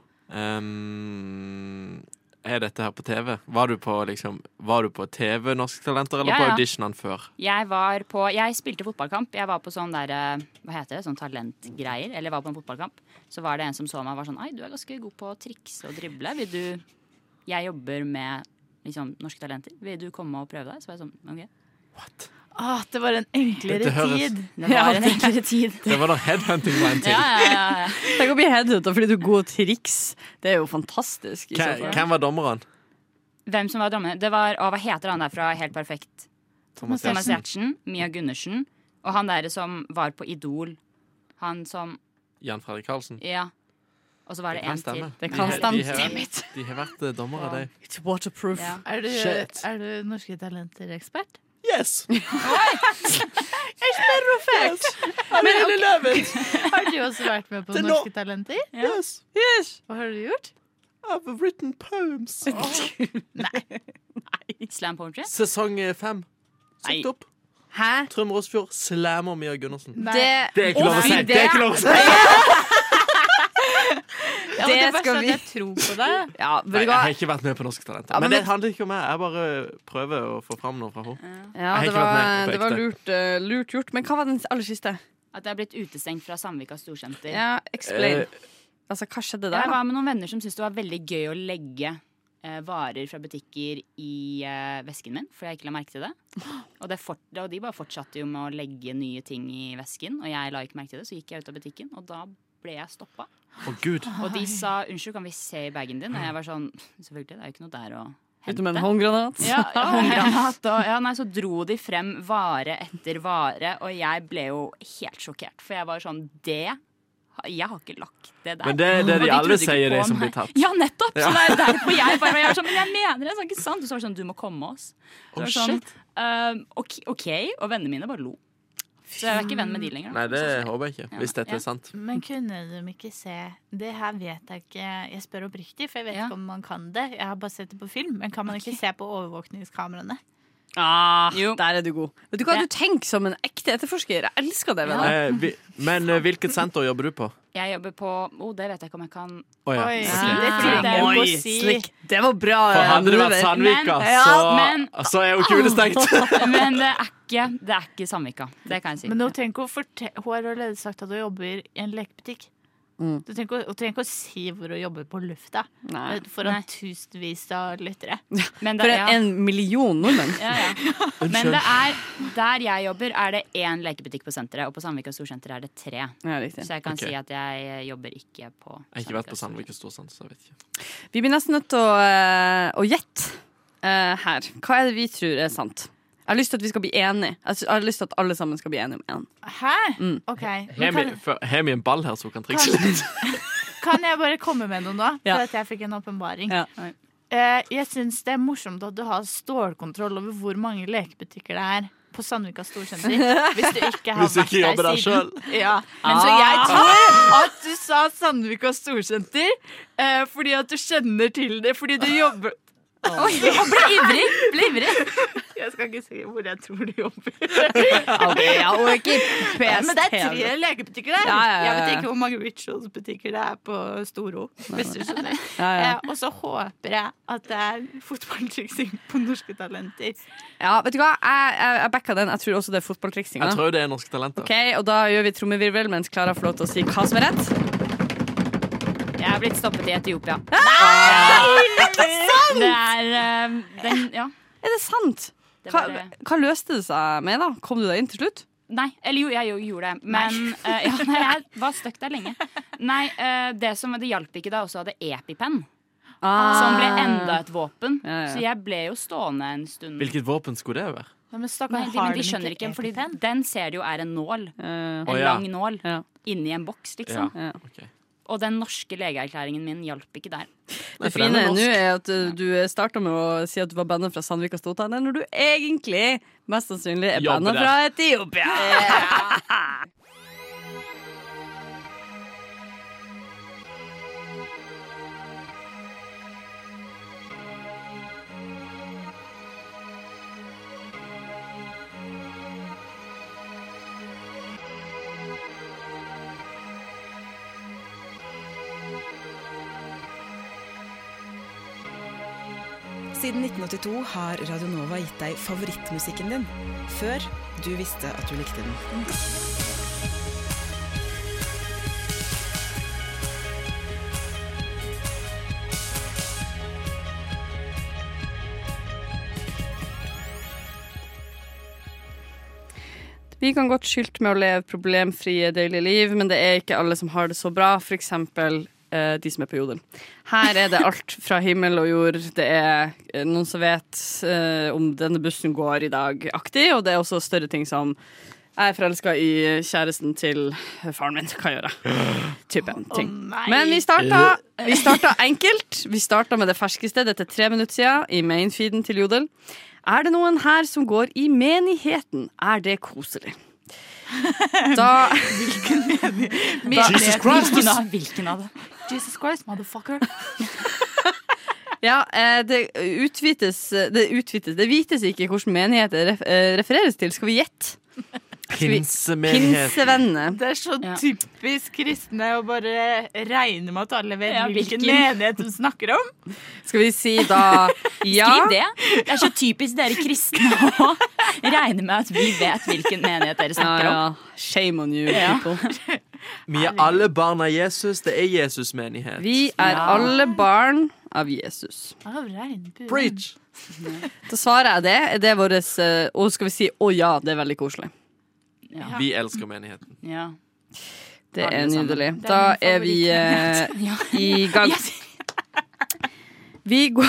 Um, er dette her på TV? Var du på, liksom, var du på TV Norske Talenter, eller Ja, på ja. auditionene før? Jeg var på Jeg spilte fotballkamp. Jeg var på sånn der eh, Hva heter det? Sånn talentgreier. Eller var på en fotballkamp. Så var det en som så meg og var sånn Ei, du er ganske god på å trikse og drible. Vil du Jeg jobber med liksom norske talenter. Vil du komme og prøve deg? Så var jeg sånn OK. Å, det var en enklere Det høres- tid. Det var en enklere tid. Det var da headhunting var en ting. Ja, ja, ja, ja. Tenk å bli headhunta fordi du er god til triks. Det er jo fantastisk. i så Hvem, fall. hvem var dommeren? Hvem som var dommerne? Det var Å, hva heter han der fra Helt perfekt? Thomas Thomas Gjertsen. Giertsen. Mia Gundersen. Og han derre som var på Idol. Han som Jan Fredrik Karlsen. Ja. Og så var det en kan til. stemme. Det De kan he- stemme. De, Damn har- it. de har vært eh, dommere, de. It's waterproof. Ja. Er du, Shit. er du Norske Talenter-ekspert? Yes! Men, Har du også vært med på Til nå. Norske Talenter? yes. Hva har du gjort? I've written poems. Slam poetry. Sesong eh, fem. Nei. Sykt opp. Hæ? Trym Rosfjord slammer Mia Gundersen. Nei. Det, Det er ikke lov å si! Det er ikke lov å si! Ja, men det det verste skal er at vi- Jeg tror på deg. Ja, vet Nei, du jeg hva? har ikke vært med på Norske Talenter. Ja, men men, det vet- handler ikke om meg. Jeg bare prøver å få fram noe fra henne. Ja, Jeg har det ikke vært var, med på det var ekte. lurt, eh, lurt gjort. Men hva var den aller siste? At jeg er blitt utestengt fra Samvika storsenter. Ja, explain. altså, hva skjedde Jeg der? da? var med noen venner som syntes det var veldig gøy å legge eh, varer fra butikker i eh, vesken min, fordi jeg ikke la merke til det. Og, det fort, og de bare fortsatte jo med å legge nye ting i vesken, og jeg la ikke merke til det. Så gikk jeg ut av butikken, og da ble jeg stoppa. Å, gud! Og de sa 'unnskyld, kan vi se i bagen din?' Og jeg var sånn 'selvfølgelig, det er jo ikke noe der å Utom en hente'. håndgranat. Ja, ja, håndgranat og ja, nei, Så dro de frem vare etter vare, og jeg ble jo helt sjokkert. For jeg var sånn Det har- Jeg har ikke lagt det der. Men det er det Og de alle trodde ikke sier, på de som meg. blir tatt. Ja, nettopp! Så det er derfor jeg bare jeg var sånn, Men jeg mener det, så er det ikke sant? Og så var det sånn Du må komme med oss. Det var sånn, ehm, ok, OK. Og vennene mine bare lo. Så jeg er ikke venn med de lenger. da. Nei, det Så- håper jeg ikke. Hvis dette Ja. er sant. Men kunne de ikke se Det her vet jeg ikke Jeg spør oppriktig, for jeg vet Ja. ikke om man kan det. Jeg har bare sett det på film. Men kan man ikke se på overvåkningskameraene? Jo. Der er du god. Vet du hva, Det- du tenker som en ekte etterforsker. Jeg elsker det. venner. Eh, vi, men eh, hvilket senter jobber du på? Jeg jobber på Å, det vet jeg ikke om jeg kan Å ja. Oi. si. Det fordi det er jo Oi, å si. Ah. Slik. Det var bra. For hadde det vært Oliver. Sandvika, Men- men- så, så er jo kule stengt. Men det er ikke, det er ikke Sandvika. Det kan jeg si. Men nå trenger ikke å fortelle Hun har allerede sagt at hun jobber i en lekebutikk. Mm. Du trenger ikke, å- hun trenger ikke å si hvor hun jobber på lufta eh, Nei. foran Nei. tusenvis av lyttere. Men det, For ja. en, en million nordmenn. Ja, ja. Men det er, der jeg jobber, er det én lekebutikk på senteret, og på Sandvika storsenter er det tre. Ja, riktig. Så jeg kan Ok. si at jeg eh, jobber ikke på Jeg har ikke vært på Sandvika storsenter, så jeg vet ikke. Vi blir nesten nødt til å, eh, å gjette eh, her. Hva er det vi tror er sant? Jeg har lyst til at vi skal bli enige. Jeg sy- jeg har lyst til at alle sammen skal bli enige om én. Hæ? OK. Har Men vi- Kan, for- Har vi en ball her som kan trikse litt? kan jeg bare komme med noe nå? Ja. For at jeg fikk en åpenbaring. Ja. Eh, jeg syns det er morsomt at du har stålkontroll over hvor mange lekebutikker det er på Sandvika Storsenter. Hvis du ikke har Hvis du ikke vært jobber der der siden. sjøl. Ja. Ah. Men så jeg tror at du sa Sandvika Storsenter eh, fordi at du kjenner til det, fordi du jobber Ble ivrig! Ble ivrig. Jeg skal ikke si hvor jeg tror du jobber. Men det er tre lekebutikker der. Ja, ja, ja, ja. Jeg vet ikke hvor mange Rituals-butikker det er på Storo. Hvis du skjønner. Ja, ja. Eh, og så håper jeg at det er fotballtriksing på Norske Talenter. ja, vet du hva? Jeg, jeg, jeg backa den. Jeg tror også det er fotballtriksinga. Jeg tror det er norske talenter. Ok, og da gjør vi trommevirvel mens Klara får lov til å si hva som er rett. Jeg er blitt stoppet i Etiopia. Nei! Det er eh, den, ja. Er det sant? Det Hva, var det. hva løste det seg med, da? Kom du deg inn til slutt? Nei, eller jo, jeg jo- gjorde det. Men eh, ja, nei, jeg var stuck der lenge. Nei, eh, det som det hjalp ikke da, jeg også hadde EpiPen, som ble enda et våpen. Ah. Ja, ja. Så jeg ble jo stående en stund. Hvilket våpen skulle det være? men, Nei, de, men de skjønner ikke, fordi den ser du jo er en nål. Eh, En Å, ja. lang nål Ja. inni en boks, liksom. Ja. ok. Og den norske legeerklæringen min hjalp ikke der. Det for den fine er norsk. nå er at eh, du starta med å si at du var bandet fra Sandvika Stotane, når du egentlig mest sannsynlig er Jobber bandet der. fra Etiopia. Siden 1982 har Radio Nova gitt deg favorittmusikken din, før du visste at du likte den. Vi kan godt skylte med å leve problemfrie deilige liv, men det er ikke alle som har det så bra, f.eks. Eh, de som er på jodel. Her er det alt fra himmel og jord. Det er eh, noen som vet eh, om denne bussen går i dag-aktig, og det er også større ting som jeg er forelska i kjæresten til faren min. Hva gjør jeg? Type ting. nei. Men vi starta, vi starta enkelt. Vi starta med det ferskeste. Dette er tre minutter siden i mainfeeden til Jodel. Er det noen her som går i menigheten? Er det koselig? Da Jesus Christ! Hvilken av, hvilken av det? Jesus Christ, motherfucker. Ja, eh, det utvites Det utvites Det vites ikke hvilken menighet det ref- eh, refereres til. Skal vi gjette? Pinsemenighet. Pinsevennene. Det er så Ja. typisk kristne å bare regne med at alle vet Ja, hvilken hvilken. menighet de snakker om. Skal vi si da ja? Skriv det. Det er så typisk dere kristne å regne med at vi vet hvilken menighet dere Ja, snakker om. ja. Shame on you, Ja. people. Vi er alle barn av Jesus. Det er Jesusmenighet. Vi er alle barn av Jesus. Av regnbuen. Preach! Da svarer jeg det. Er det våres eh, Og skal vi si 'å ja, det er veldig koselig'. Ja. Vi elsker menigheten. ja. Det Alle er sammen. nydelig. Det er Da min er vi eh, Ja. i gang. Vi går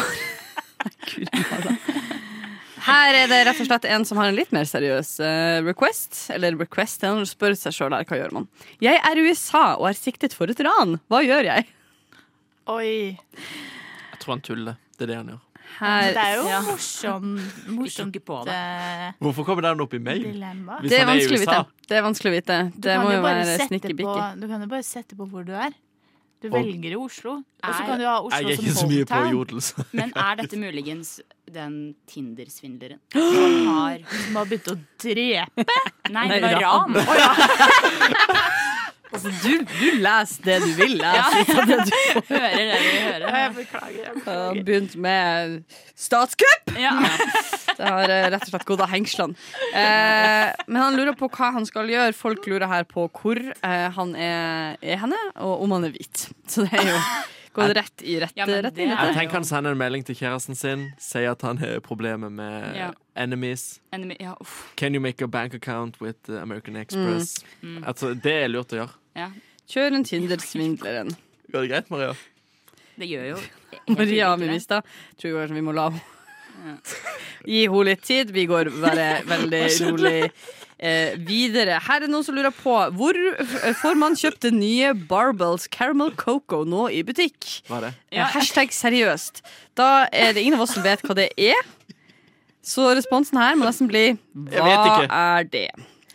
Gud, Mara. Her er det rett og slett en som har en litt mer seriøs eh, request. Eller request, det er når du spør seg sjøl her, hva gjør man? Jeg er i USA og er siktet for et ran. Hva gjør jeg? Oi. Jeg tror han tuller. Det er det han gjør. Her Det er jo Ja. morsom, morsomt på eh, Hvorfor kommer den opp i mail? dilemma. Hvis Det er han er i vanskelig å USA. vite. Det er vanskelig å vite. Du Det kan må jo jo bare være sette på, snikkebikke. du kan jo bare sette på hvor du er. Du Og- velger jo Oslo, og så Er- kan du ha Jeg er Sånn Oslo ikke så som mye på hometown. jodel. så- Men er dette muligens den Tinder-svindleren som har Som har begynt å drepe. Nei, Nei, det var ran. ran. Å, ja. Altså, du, du leser det du vil lese. ut av det du får. Hører det vi hører. Jeg har begynt med statskupp! Ja. Det har eh, rett og slett gått av hengslene. Eh, men han lurer på hva han skal gjøre. Folk lurer her på hvor eh, han er, er henne, og om han er hvit. Så det er jo gått rett i rett, Ja, men rett det inn i er- det. Jeg tenker han sender en melding til kjæresten sin, sier at han har problemer med Ja. enemies. Enemy, ja, uff. Can you make a bank account with uh, American Express? Mm. Altså, det er lurt å gjøre. Ja. Kjør en Tinder-svindleren. Går det greit, Maria? Det gjør jo helt Maria sikkert det. Amundstad. Tror jeg kanskje vi må la henne Gi henne litt tid. Vi går bare veldig rolig eh, videre. Her er noen som lurer på hvor får man kjøpt det nye Barbells Caramel Coco nå i butikk? Var det? Ja. Eh, Hashtag seriøst. Da er det ingen av oss som vet hva det er. Så responsen her må nesten bli Jeg vet hva ikke. er det?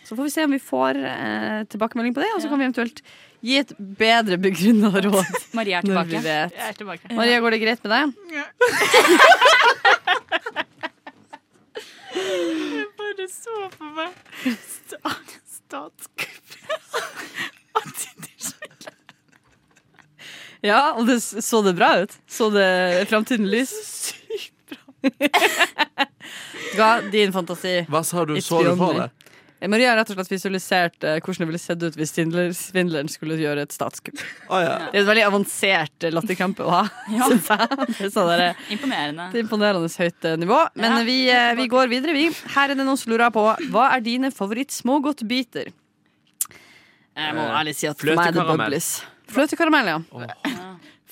Så får vi se om vi får eh, tilbakemelding på det, og så kan vi eventuelt gi et bedre begrunna råd Maria er når vi tilbake. vet. Jeg er tilbake. Maria, går det greit med deg? Bare så på meg statskupp. Ja, og det s- så det bra ut? Så det framtiden lys? Sykt bra. Ga din fantasi. Hva sa du? It's Så du for beyond me. det? Maria har rett og slett visualisert eh, hvordan det ville sett ut hvis Tindler- svindleren skulle gjøre et statskupp. Å ja. Det er et veldig avansert eh, latterkrampe å ha. Ja. synes jeg. Det er sånn der, Imponerende. det er imponerende høyt eh, nivå. Men Ja. vi, eh, vi går videre, vi. Her er det noen som lurer på hva er dine favoritt-smågodtbiter? Jeg må ærlig si at for meg er det Fløtekaramell. bublis. Eh, Fløtekaramell, ja.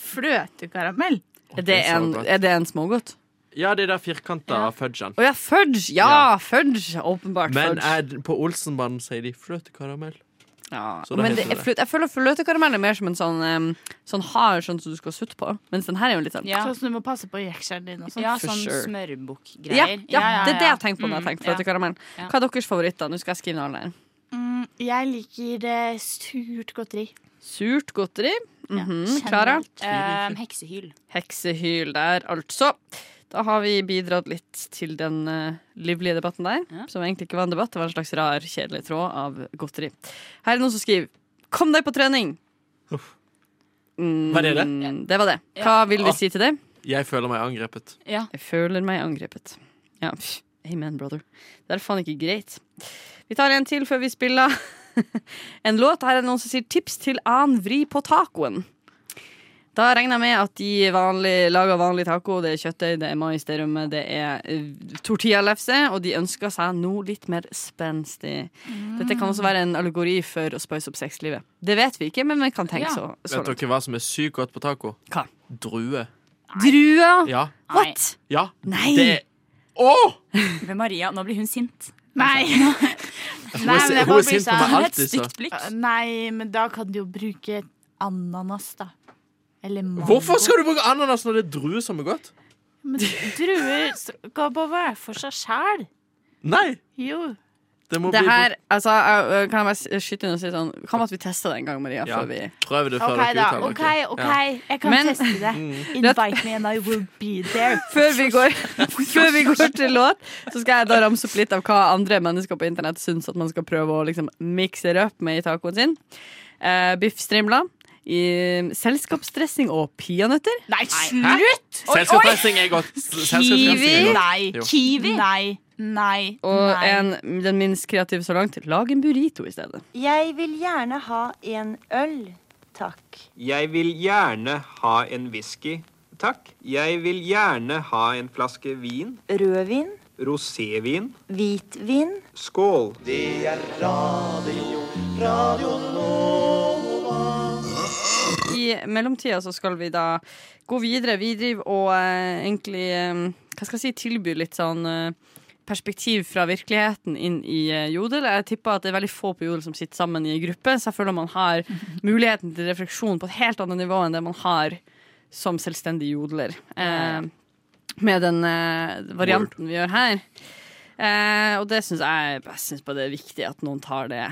Fløtekaramell. Er det så en, godt. er det en smågodt? Ja, de der firkanta fudgene. Å ja, fudge! Ja, fudge! Åpenbart Men fudge. er, på Olsenbanen sier de fløtekaramell. ja. så da men heter det er det. fløt, jeg føler fløtekaramell er mer som en sånn, em, sånn hard sånn som du skal sutte på. Mens den her er jo litt sånn Ja. Sånn som du må passe på jekselen din og sånn. Ja, For sånn sure. ja, smørbukk-greier. ja, det er det jeg har tenkt på når jeg Mm, har tenkt fløtekaramell. Ja. Hva er deres favoritter? Nå skal jeg skrive ned alle her. Mm, jeg liker eh, surt godteri. Surt godteri. Ja, Mhm, Klara? ja. Ehm, heksehyl. Heksehyl der, altså. Da har vi bidratt litt til den eh, livlige debatten der. Ja. Som egentlig ikke var en debatt, det var en slags rar, kjedelig tråd av godteri. Her er noen som skriver 'Kom deg på trening'. Mm, Var det det? Det var det. Hva vil vi Ah. si til det? Jeg føler meg angrepet. Ja. Jeg føler meg angrepet. Ja, pff, amen, brother. Det er faen ikke greit. Vi tar en til før vi spiller en låt. Her er det noen som sier 'tips til annen vri på tacoen'. Da regner jeg med at de vanlig, lager vanlig taco. Det er kjøttdeig, det er mais, det er rømme, det er eh, tortillalefse. Og de ønsker seg noe litt mer spenstig. Dette kan også være en allegori for å spice opp sexlivet. Det vet vi ikke, men vi kan tenke Ja. så, så langt. Vet dere hva som er sykt godt på taco? Hva? Drue. Druer! Ja. What?! Ja. Nei! Det Åh! Ved Maria. Nå blir hun sint. Nei! Nei, Hun er men si- jeg hun bare er blir sint på meg sånn Hun har et alltid, så. stygt blikk. Nei, men da kan du jo bruke ananas, da. Eller mango. Hvorfor skal du bruke ananas når det er drue som er godt? Men druer skal bare være for seg sjæl. Nei! Jo. Det må Det bli her, altså, jeg- jeg- kan jeg bare s- skyte inn og si sånn Hva med at vi tester det en gang, Maria? Ja. Før vi Prøv det før OK, da. dere uttaler OK, dere. OK. Ja. Mm. Jeg kan Men- teste det. Invite me and I will be there. før vi, går, før vi går til låt, så skal jeg da ramse opp litt av hva andre mennesker på internett syns at man skal prøve å liksom mikse det opp med i tacoen sin. Eh, Biffstrimler. i- mm, Selskapsdressing og peanøtter. Nei, slutt! Selskapsdressing er godt. S- selskapsdressing er Kiwi. godt. Nei. Jo. Kiwi? Nei. Nei. Og nei. en, den minst kreative så langt, lag en burrito i stedet. Jeg vil gjerne ha en øl, takk. Jeg vil gjerne ha en whisky, takk. Jeg vil gjerne ha en flaske vin. Rødvin, Rosévin. hvitvin. Skål. I mellomtida så skal vi da gå videre. Vi driver og eh, egentlig eh, hva skal jeg si, tilbyr litt sånn eh, perspektiv fra virkeligheten inn i eh, Jodel. Jeg tipper at det er veldig få på Jodel som sitter sammen i en gruppe, så jeg føler man har muligheten til refleksjon på et helt annet nivå enn det man har som selvstendig jodler. Eh, med den eh, varianten vi gjør her. Eh, og det syns jeg, jeg synes bare det er viktig at noen tar det,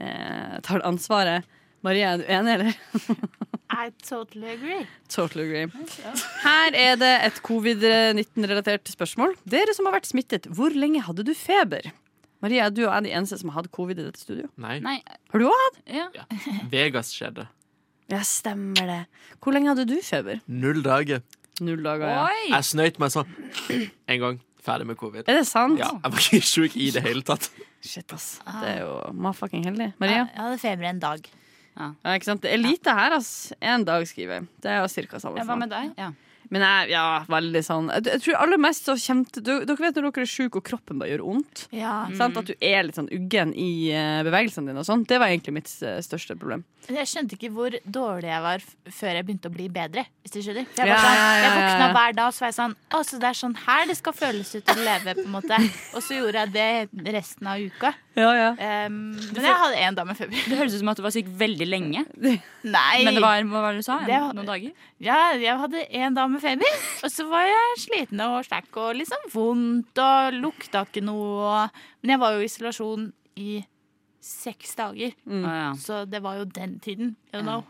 eh, tar det ansvaret. Marie, er du enig, eller? I totally agree. Totally agree. Her er det et covid-19-relatert spørsmål. Dere som har vært smittet, hvor lenge hadde du feber? Maria, du er de eneste som har hatt covid i dette studio. Nei, Nei. Har du òg hatt? Ja. Vegas skjedde. Ja, stemmer det. Hvor lenge hadde du feber? Null dager. Null dager, ja. Oi! Jeg snøyt meg sånn en gang. Ferdig med covid. Er det sant? Ja, jeg var ikke sjuk i det hele tatt. Shit, ass. Det er jo mafucking heldig. Maria? Jeg hadde feber en dag. Ja, ikke sant? Det er lite her, ass. Én dag, skriver jeg. Det er jo cirka samme. for Hva meg. med deg? Men jeg, ja, veldig sånn Jeg, jeg tror aller mest så kjente du- Dere vet når dere er syke og kroppen bare gjør vondt? Ja. Sant? At du er litt sånn uggen i eh, bevegelsene dine og sånn. Det var egentlig mitt eh, største problem. Jeg skjønte ikke hvor dårlig jeg var f- før jeg begynte å bli bedre. Hvis du skjønner For Jeg, Ja, var ja, sånn, ja, jeg ja, ja. våkna hver dag, så var jeg sånn Å, så det er sånn her det skal føles ut å leve, på en måte. Og så gjorde jeg det resten av uka. Ja, ja. Um, men jeg hadde én dag med feber. Det høres ut som at du var syk veldig lenge. Nei! Men det var, hva var Eh, det du sa? En, Det var- noen dager? Ja, jeg hadde én dag med feber, og så var jeg sliten og sterk og liksom vondt og lukta ikke noe. og- Men jeg var jo i isolasjon i seks dager, Å, ja. så det var jo den tiden. You know.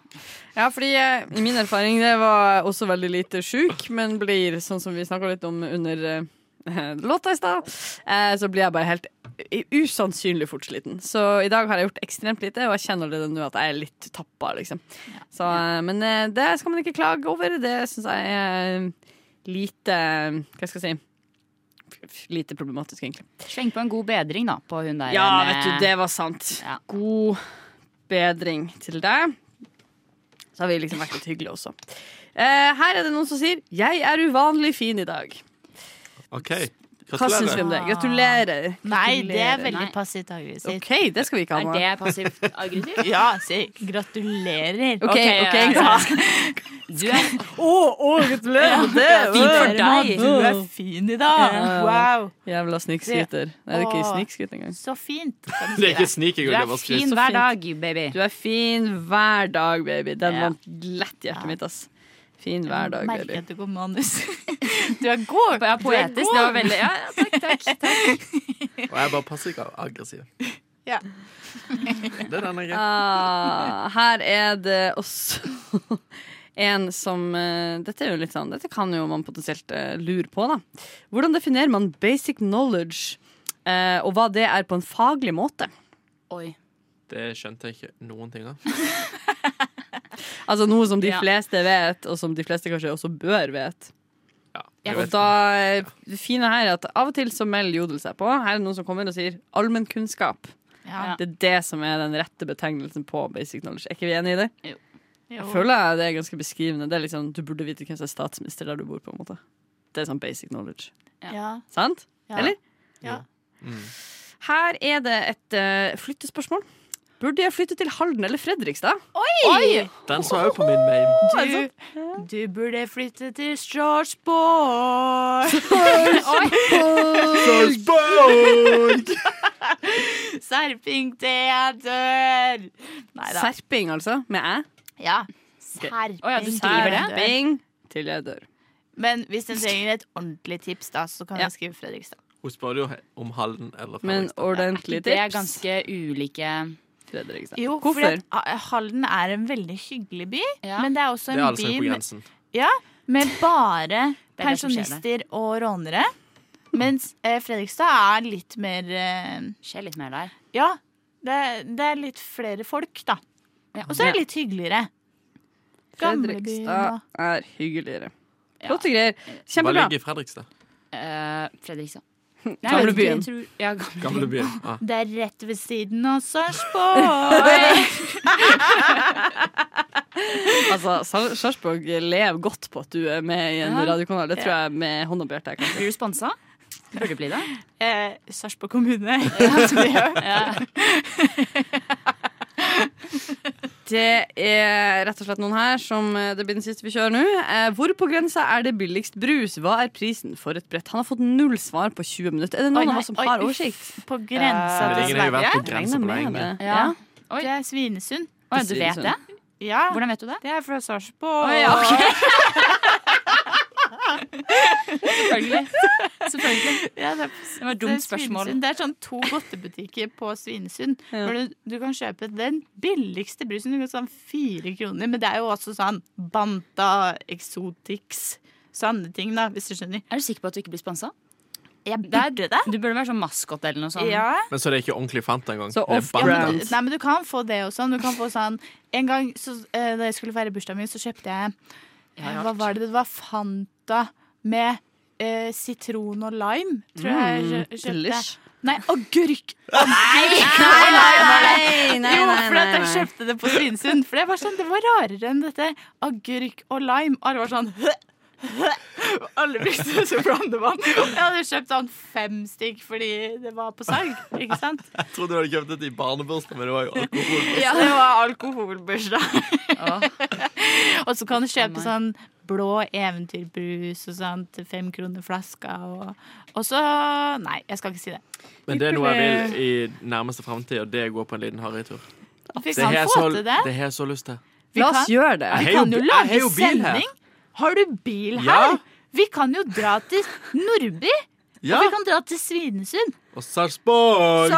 ja fordi eh, i min erfaring det var også veldig lite sjuk, men blir, sånn som vi snakka litt om under eh, låta i stad, eh, så blir jeg bare helt i- usannsynlig fort sliten. Så i dag har jeg gjort ekstremt lite, og jeg kjenner allerede nå at jeg er litt tappa, liksom. Så, eh, men eh, det skal man ikke klage over. Det syns jeg er lite eh, Hva skal jeg si? f- f- Lite problematisk, egentlig. Sleng på en god bedring, da, på hun der. eh, Ja, med- vet du, det var sant. Ja. God bedring til deg. Så har vi liksom vært litt hyggelige også. Eh, her er det noen som sier 'Jeg er uvanlig fin i dag'. OK. Hva syns vi om det? Gratulerer. Nei, det er Gratulerer. veldig passivt aggressivt. OK, det skal vi ikke ha Ah. Er nå. det passivt aggressivt? Ja, si gratulerer. OK, ok, ja, ja. Du er gratulerer med det. fin for deg. Du er fin i dag. Wow. Jævla snikskryter. Nei, det er ikke Åh. snikskryt engang. Så fint. Kan du Det er si ikke det. snik Du engang. det er var skryt. fin hver dag, baby. Du er fin hver dag, baby. Den Ja. vant lett hjertet mitt, ass. Fin hver dag, Merker baby. at du går manus. Du er god. Ja, poetisk. Det var veldig Ja, ja, takk, takk. Og jeg er bare passiv aggressiv. Ja. Det er den jeg er. Ah, her er det også en som eh, Dette er jo litt sånn Dette kan jo man potensielt eh, lure på, da. Hvordan definerer man basic knowledge, eh, og hva det er på en faglig måte? Oi. Det skjønte jeg ikke noen ting av. Altså noe som de Ja. fleste vet, og som de fleste kanskje også bør vet. Ja, Ja, jeg Og vet da eh, Det fine her er at av og til så melder Jodel seg på. Her er det noen som kommer og sier allmennkunnskap. Ja. Det er det som er den rette betegnelsen på basic knowledge. Er ikke vi enige i det? Jo. Jeg føler jeg det er ganske beskrivende. Det er liksom, Du burde vite hvem som er statsminister der du bor. på en måte Det er sånn basic knowledge. Ja. Sant? Ja. Eller? Ja. Mm. Her er det et eh, flyttespørsmål. Burde jeg flytte til Halden eller Fredrikstad? Oi! Den så jeg jo på min mame. Du, sånn. du burde flytte til Strasbourg. Serping teater. Nei da. Serping, altså. Med æ. Ja. Å ja, du Serping skriver det? teater. Serping til jeg dør. Men hvis den trenger et ordentlig tips, da, så kan Ja. jeg skrive Fredrikstad. Hun spør jo om Halden eller Men Fredrikstad. ordentlig Det er tips. ganske ulike Fredrikstad. Jo, fordi Hvorfor? at Ha- Halden er en veldig hyggelig by, Ja. men det er også Det en er alle som by er på med- grensen. Ja, med bare Det er det som skjer pensjonister og rånere. Mens eh, Fredrikstad er litt mer eh, Skjer litt mer der. Ja, det, det er litt flere folk, da. Ja. Og så er det litt hyggeligere. Gamlebyen Fredrikstad er hyggeligere. Ja. Flotte greier. Hva Kjempebra. ligger i Fredrikstad? Eh, Fredrikstad. Nei, jeg vet ikke, Gamlebyen. jeg tror- Ja, Gamlebyen. Gamlebyen. Ah. Det er rett ved siden av Sarpsborg. Altså, Sar- Sarpsborg lever godt på at du er med i en Ja. radiokanal. Det tror jeg med hånda på hjertet. jeg kan si. Blir du sponsa? Burde bli det. eh, Sarpsborg kommune. Det er rett og slett noen her som eh, det blir den siste vi kjører nå. Eh, Hvor på grensa er det billigst brus? Hva er prisen for et brett? Han har fått null svar på 20 minutter. Er det Oi, noen nei, av oss som oi, har uff. oversikt? På grensa Men ingen til har jo Sverige. vært på grensa Regner på med lenge. det. Ja. Det er Svinesund. Å, ja, du vet det? liksom- sånn. Ja, Hvordan vet du det? det er fra Å, Sarpsborg. ja, ok. Selvfølgelig. Selvfølgelig. Ja, det Det er liksom- var et Det er dumt spørsmål. Svinesund. Det er sånn to godtebutikker på Svinesund. Ja. Hvor du, du kan kjøpe den billigste brusen. Du kan sånn fire kroner. Men det er jo også sånn Banta, Exotics, sånne ting, da, hvis du skjønner. Er du sikker på at du ikke blir sponsa? Jeg burde det. Du burde være sånn maskot eller noe sånt. Ja. Men så det er ikke ordentlig Fanta engang. Så Det er off-brand. Fanta. Nei, men du kan få det også. Du kan få sånn En gang så, eh, da jeg skulle feire bursdagen min, så kjøpte jeg eh, Ja, Hva var det det var? Fanta med eh, sitron og lime, tror jeg jeg kjø- kjøpte. Delish. Nei, agurk! Mm, Nei, nei, nei, jo, nei, for at jeg nei. kjøpte det på Svinesund. For det var sånn, det var rarere enn dette. Agurk og lime. Og det var sånn Alle visste så hvordan det var. Jeg hadde kjøpt sånn fem stykk fordi det var på salg. Ikke sant? Jeg trodde du hadde kjøpt dette i barnebursdag, men det var jo alkohol. Ja, det var alkoholbursdag. Åh. Og så kan du kjøpe Å, nei. sånn blå eventyrbrus og sånn til fem kroner flaska. Og, og så Nei, jeg skal ikke si det. Men det er noe jeg vil i nærmeste framtid, og det er å gå på en liten harrytur. Vi Det kan har jeg få så- til det. det har jeg så lyst til. Vi La kan- oss gjøre det. Jeg Vi har kan jo- jo jeg har jo lage bil her. sending. Har du bil her? Ja. Vi kan jo dra til Nordby. Ja! Og vi kan dra til Svinesund. Og Sarpsborg!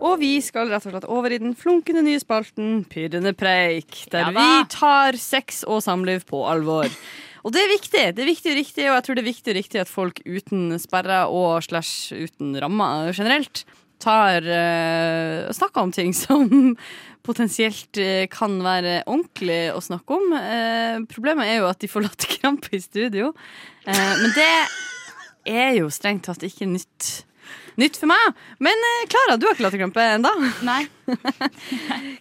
Og vi skal rett og slett over i den flunkende nye spalten Pyrrende preik, der Ja da. vi tar sex og samliv på alvor. Og det er viktig, det er viktig og riktig, og jeg tror det er viktig og riktig at folk uten sperrer og slash uten rammer generelt tar eh, snakker om ting som potensielt eh, kan være ordentlig å snakke om. Eh, problemet er jo at de får latterkrampe i studio, Eh, men det er jo strengt tatt ikke nytt. Nytt for meg. Men eh, Klara, du har ikke latterkrampe ennå. Nei,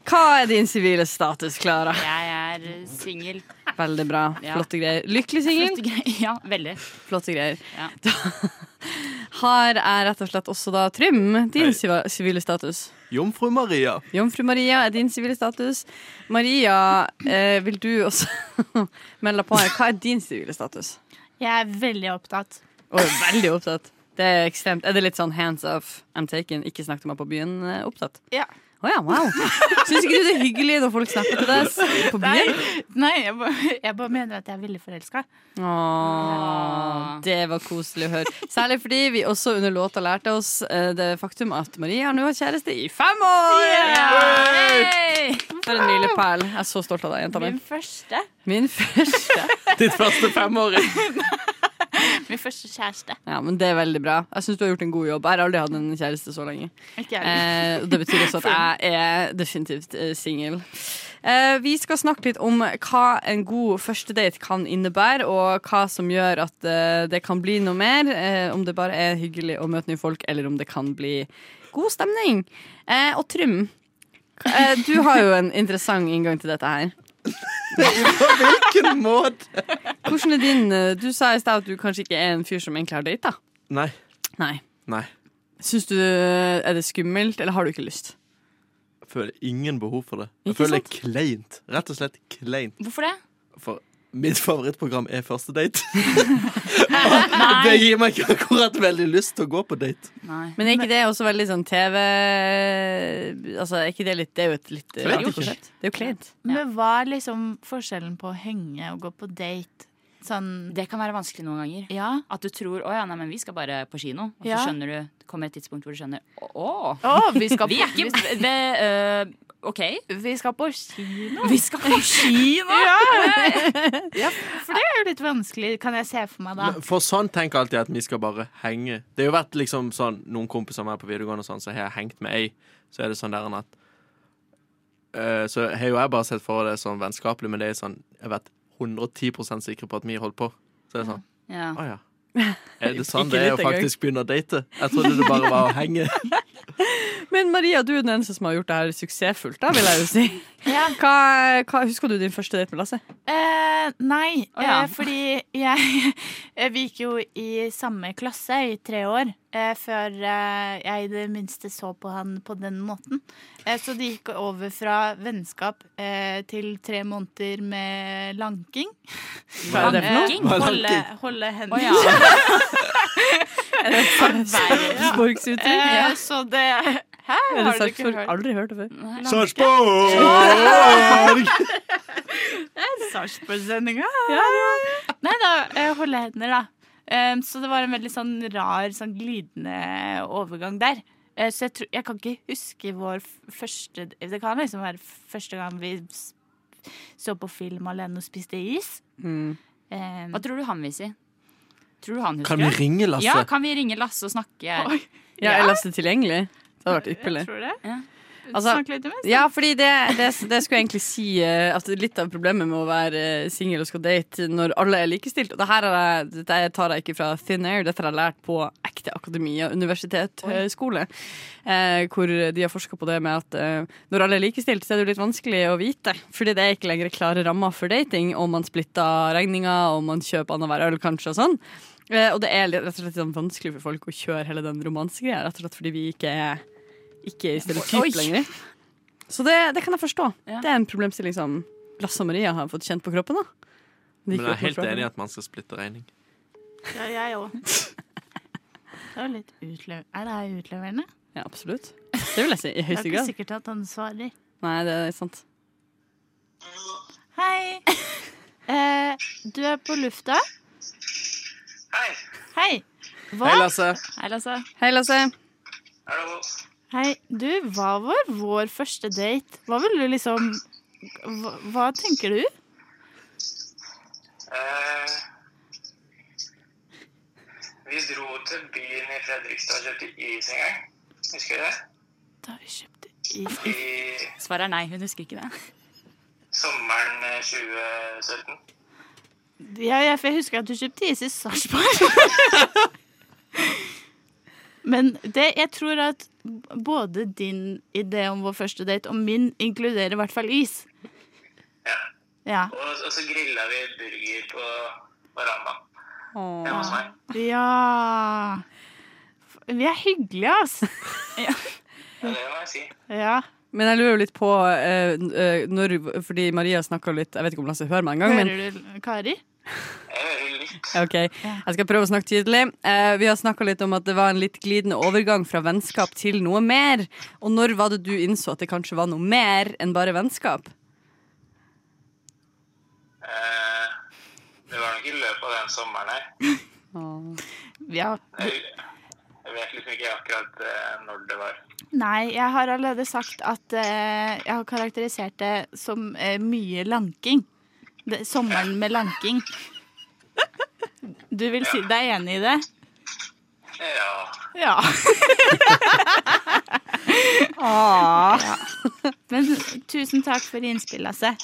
Hva er din sivile status, Klara? jeg er eh, singel. Veldig bra. Ja. Flotte greier. Lykkelig singel. Flotte greier. Ja, veldig. Flotte greier. Ja. Da har jeg rett og slett også da Trym, din siva- sivile status. Jomfru Maria. Jomfru Maria er din sivile status. Maria, eh, vil du også melde på her? Hva er din sivile status? Jeg er veldig opptatt. Og er veldig opptatt. Det er ekstremt. Er det litt sånn hands off, I'm taken, ikke snakk til meg på byen, eh, opptatt? Ja. Å ja, wow. Syns ikke du det er hyggelig når folk snakker til deg s- på byen? Nei, jeg bare, jeg bare mener at jeg er veldig forelska. Åh, det var koselig å høre. Særlig fordi vi også under låta lærte oss eh, det faktum at Maria nå har kjæreste i fem år! Hey! For en milepæl. Jeg er så stolt av deg, jenta mi. Min første. Min første. Ditt første femåring. Min første kjæreste. Ja, men det er veldig bra. Jeg syns du har gjort en god jobb. Jeg har aldri hatt en kjæreste så lenge. Ikke jeg. Eh, og det betyr også at jeg er definitivt eh, singel. Eh, vi skal snakke litt om hva en god førstedate kan innebære, og hva som gjør at eh, det kan bli noe mer. Eh, om det bare er hyggelig å møte nye folk, eller om det kan bli god stemning. Eh, og Trym, eh, du har jo en interessant inngang til dette her. På hvilken måte? Hvordan er din eh, Du sa i stad at du kanskje ikke er en fyr som egentlig har data. Nei. Nei. Nei. Syns du eh, Er det skummelt, eller har du ikke lyst? Jeg føler ingen behov for det. Jeg Ikke føler det er kleint. Rett og slett kleint. Hvorfor det? For mitt favorittprogram er Første date. Og det gir meg ikke akkurat veldig lyst til å gå på date. Nei. Men er ikke det også veldig sånn TV Altså, er ikke det litt Det er jo et litt Jeg vet ikke. radioprosjekt. Det er jo kleint. Men hva er liksom forskjellen på å henge og gå på date? Sånn Det kan være vanskelig noen ganger. Ja. At du tror å ja, nei, men vi skal bare på kino. Og så Ja. skjønner du, det kommer et tidspunkt hvor du skjønner å, å, Å, vi skal vi på, er ikke det, øh, OK. vi skal på kino. Vi skal på kino! For det er jo litt vanskelig, kan jeg se for meg da. Men For sånn tenker jeg alltid at vi skal bare henge. Det har jo vært liksom sånn noen kompiser med på videregående og sånn, så har jeg hengt med ei. Så er det sånn der enn at eh, Så har jo jeg bare sett for det sånn vennskapelig, men det er sånn Jeg vet 110 sikre på at vi holdt på. Så er det sånn Ja. Å ja. Er det sånn Ikke det er å litt engang. faktisk begynne å date? Jeg trodde det bare var å henge. Men Maria, du er den eneste som har gjort det her suksessfullt, da, vil jeg jo si. Hva, hva, husker du din første date med Lasse? Eh, nei, Å, ja. eh, fordi jeg eh, Vi gikk jo i samme klasse i tre år eh, før eh, jeg i det minste så på han på den måten. Eh, så det gikk over fra vennskap eh, til tre måneder med lanking. Hva er det for noe? Eh, Hva er holde, lanking? holde hender. Å ja. Sarpsborgsuttrykk? Eh, så det Hæ, Er det har du ikke Sarpsborg? hørt? Aldri hørt det før. Sarpsborg! Sarpsborg-sendinga. Nei da, eh, holde hender, da. Em, så det var en veldig sånn rar, sånn glidende overgang der. Eh, så jeg, tror, jeg kan ikke huske vår f- første Det kan liksom være første gang vi s- så på film alene og spiste is. Em, Hva tror du han vil si? Tror du han husker Kan vi det? ringe Lasse? Altså- Ja, kan vi ringe Lasse og snakke? Oi. Ja, er Lasse tilgjengelig? Det hadde vært ypperlig. jeg tror det. Ja. Altså, Snakk litt om det. Ja, fordi det, det, det skulle jeg egentlig si eh, at litt av problemet med å være eh, singel og skal date når alle er likestilt Og det her har jeg, dette tar jeg ikke fra thin air, dette har jeg lært på ekte akademia, universitet, høyskole. Eh, hvor de har forska på det med at eh, når alle er likestilt, så er det jo litt vanskelig å vite. Fordi det er ikke lenger klare rammer for dating, og man splitter regninger, og man kjøper annenhver øl kanskje og sånn. Eh, og det er litt- rett og slett sånn vanskelig for folk å kjøre hele den romansegreia, rett og slett fordi vi ikke er ikke i stereotyp lenger. Så det, det kan jeg forstå. Ja. Det er en problemstilling som Lasse og Maria har fått kjent på kroppen. da. De Men jeg er ikke helt oppnår enig i kroppen. at man skal splitte regning. Ja, jeg òg. Det var litt utlever... Er det her utleverende? Ja, absolutt. Det vil jeg si. I Det er høyeste ikke grad. sikkert at han svarer. Nei, det er sant. Hei. Eh, du er på lufta. Hei. Hei. Hva? Hei, Lasse. Hei, Lasse. Hei, Lasse. Hallo. Hei. Du, hva var vår første date? Hva vil du liksom hva, hva tenker du? Eh, vi dro til byen i Fredrikstad og kjøpte is en gang. Husker du det? Da vi kjøpte is I Svaret er nei, hun husker ikke det. sommeren eh, 2017. Ja, jeg, for jeg husker at du kjøpte is i Sarpsborg. Men det, jeg tror at b- både din idé om vår første date og min inkluderer i hvert fall is. Ja. Ja. Og, og så grilla vi burger på verandaen Åh. hjemme hos meg. Ja F- Vi er hyggelige, altså. Ja, det må jeg si. Ja. Men jeg lurer jo litt på eh, n- eh, når Fordi Maria snakka litt Jeg vet ikke om Lasse hører meg engang, men Hører du, Kari? Jeg hører litt. OK. Jeg skal prøve å snakke tydelig. Eh, vi har snakka litt om at det var en litt glidende overgang fra vennskap til noe mer. Og når var det du innså at det kanskje var noe mer enn bare vennskap? Eh, det var nok i løpet av den sommeren her. Ja. Jeg, jeg vet liksom ikke akkurat eh, når det var. Nei, jeg har allerede sagt at eh, jeg har karakterisert det som eh, mye lanking. Det, sommeren med lanking. Du vil si deg enig i det? Ja. Ja. Ja. Men tusen takk for innspill, Lasse.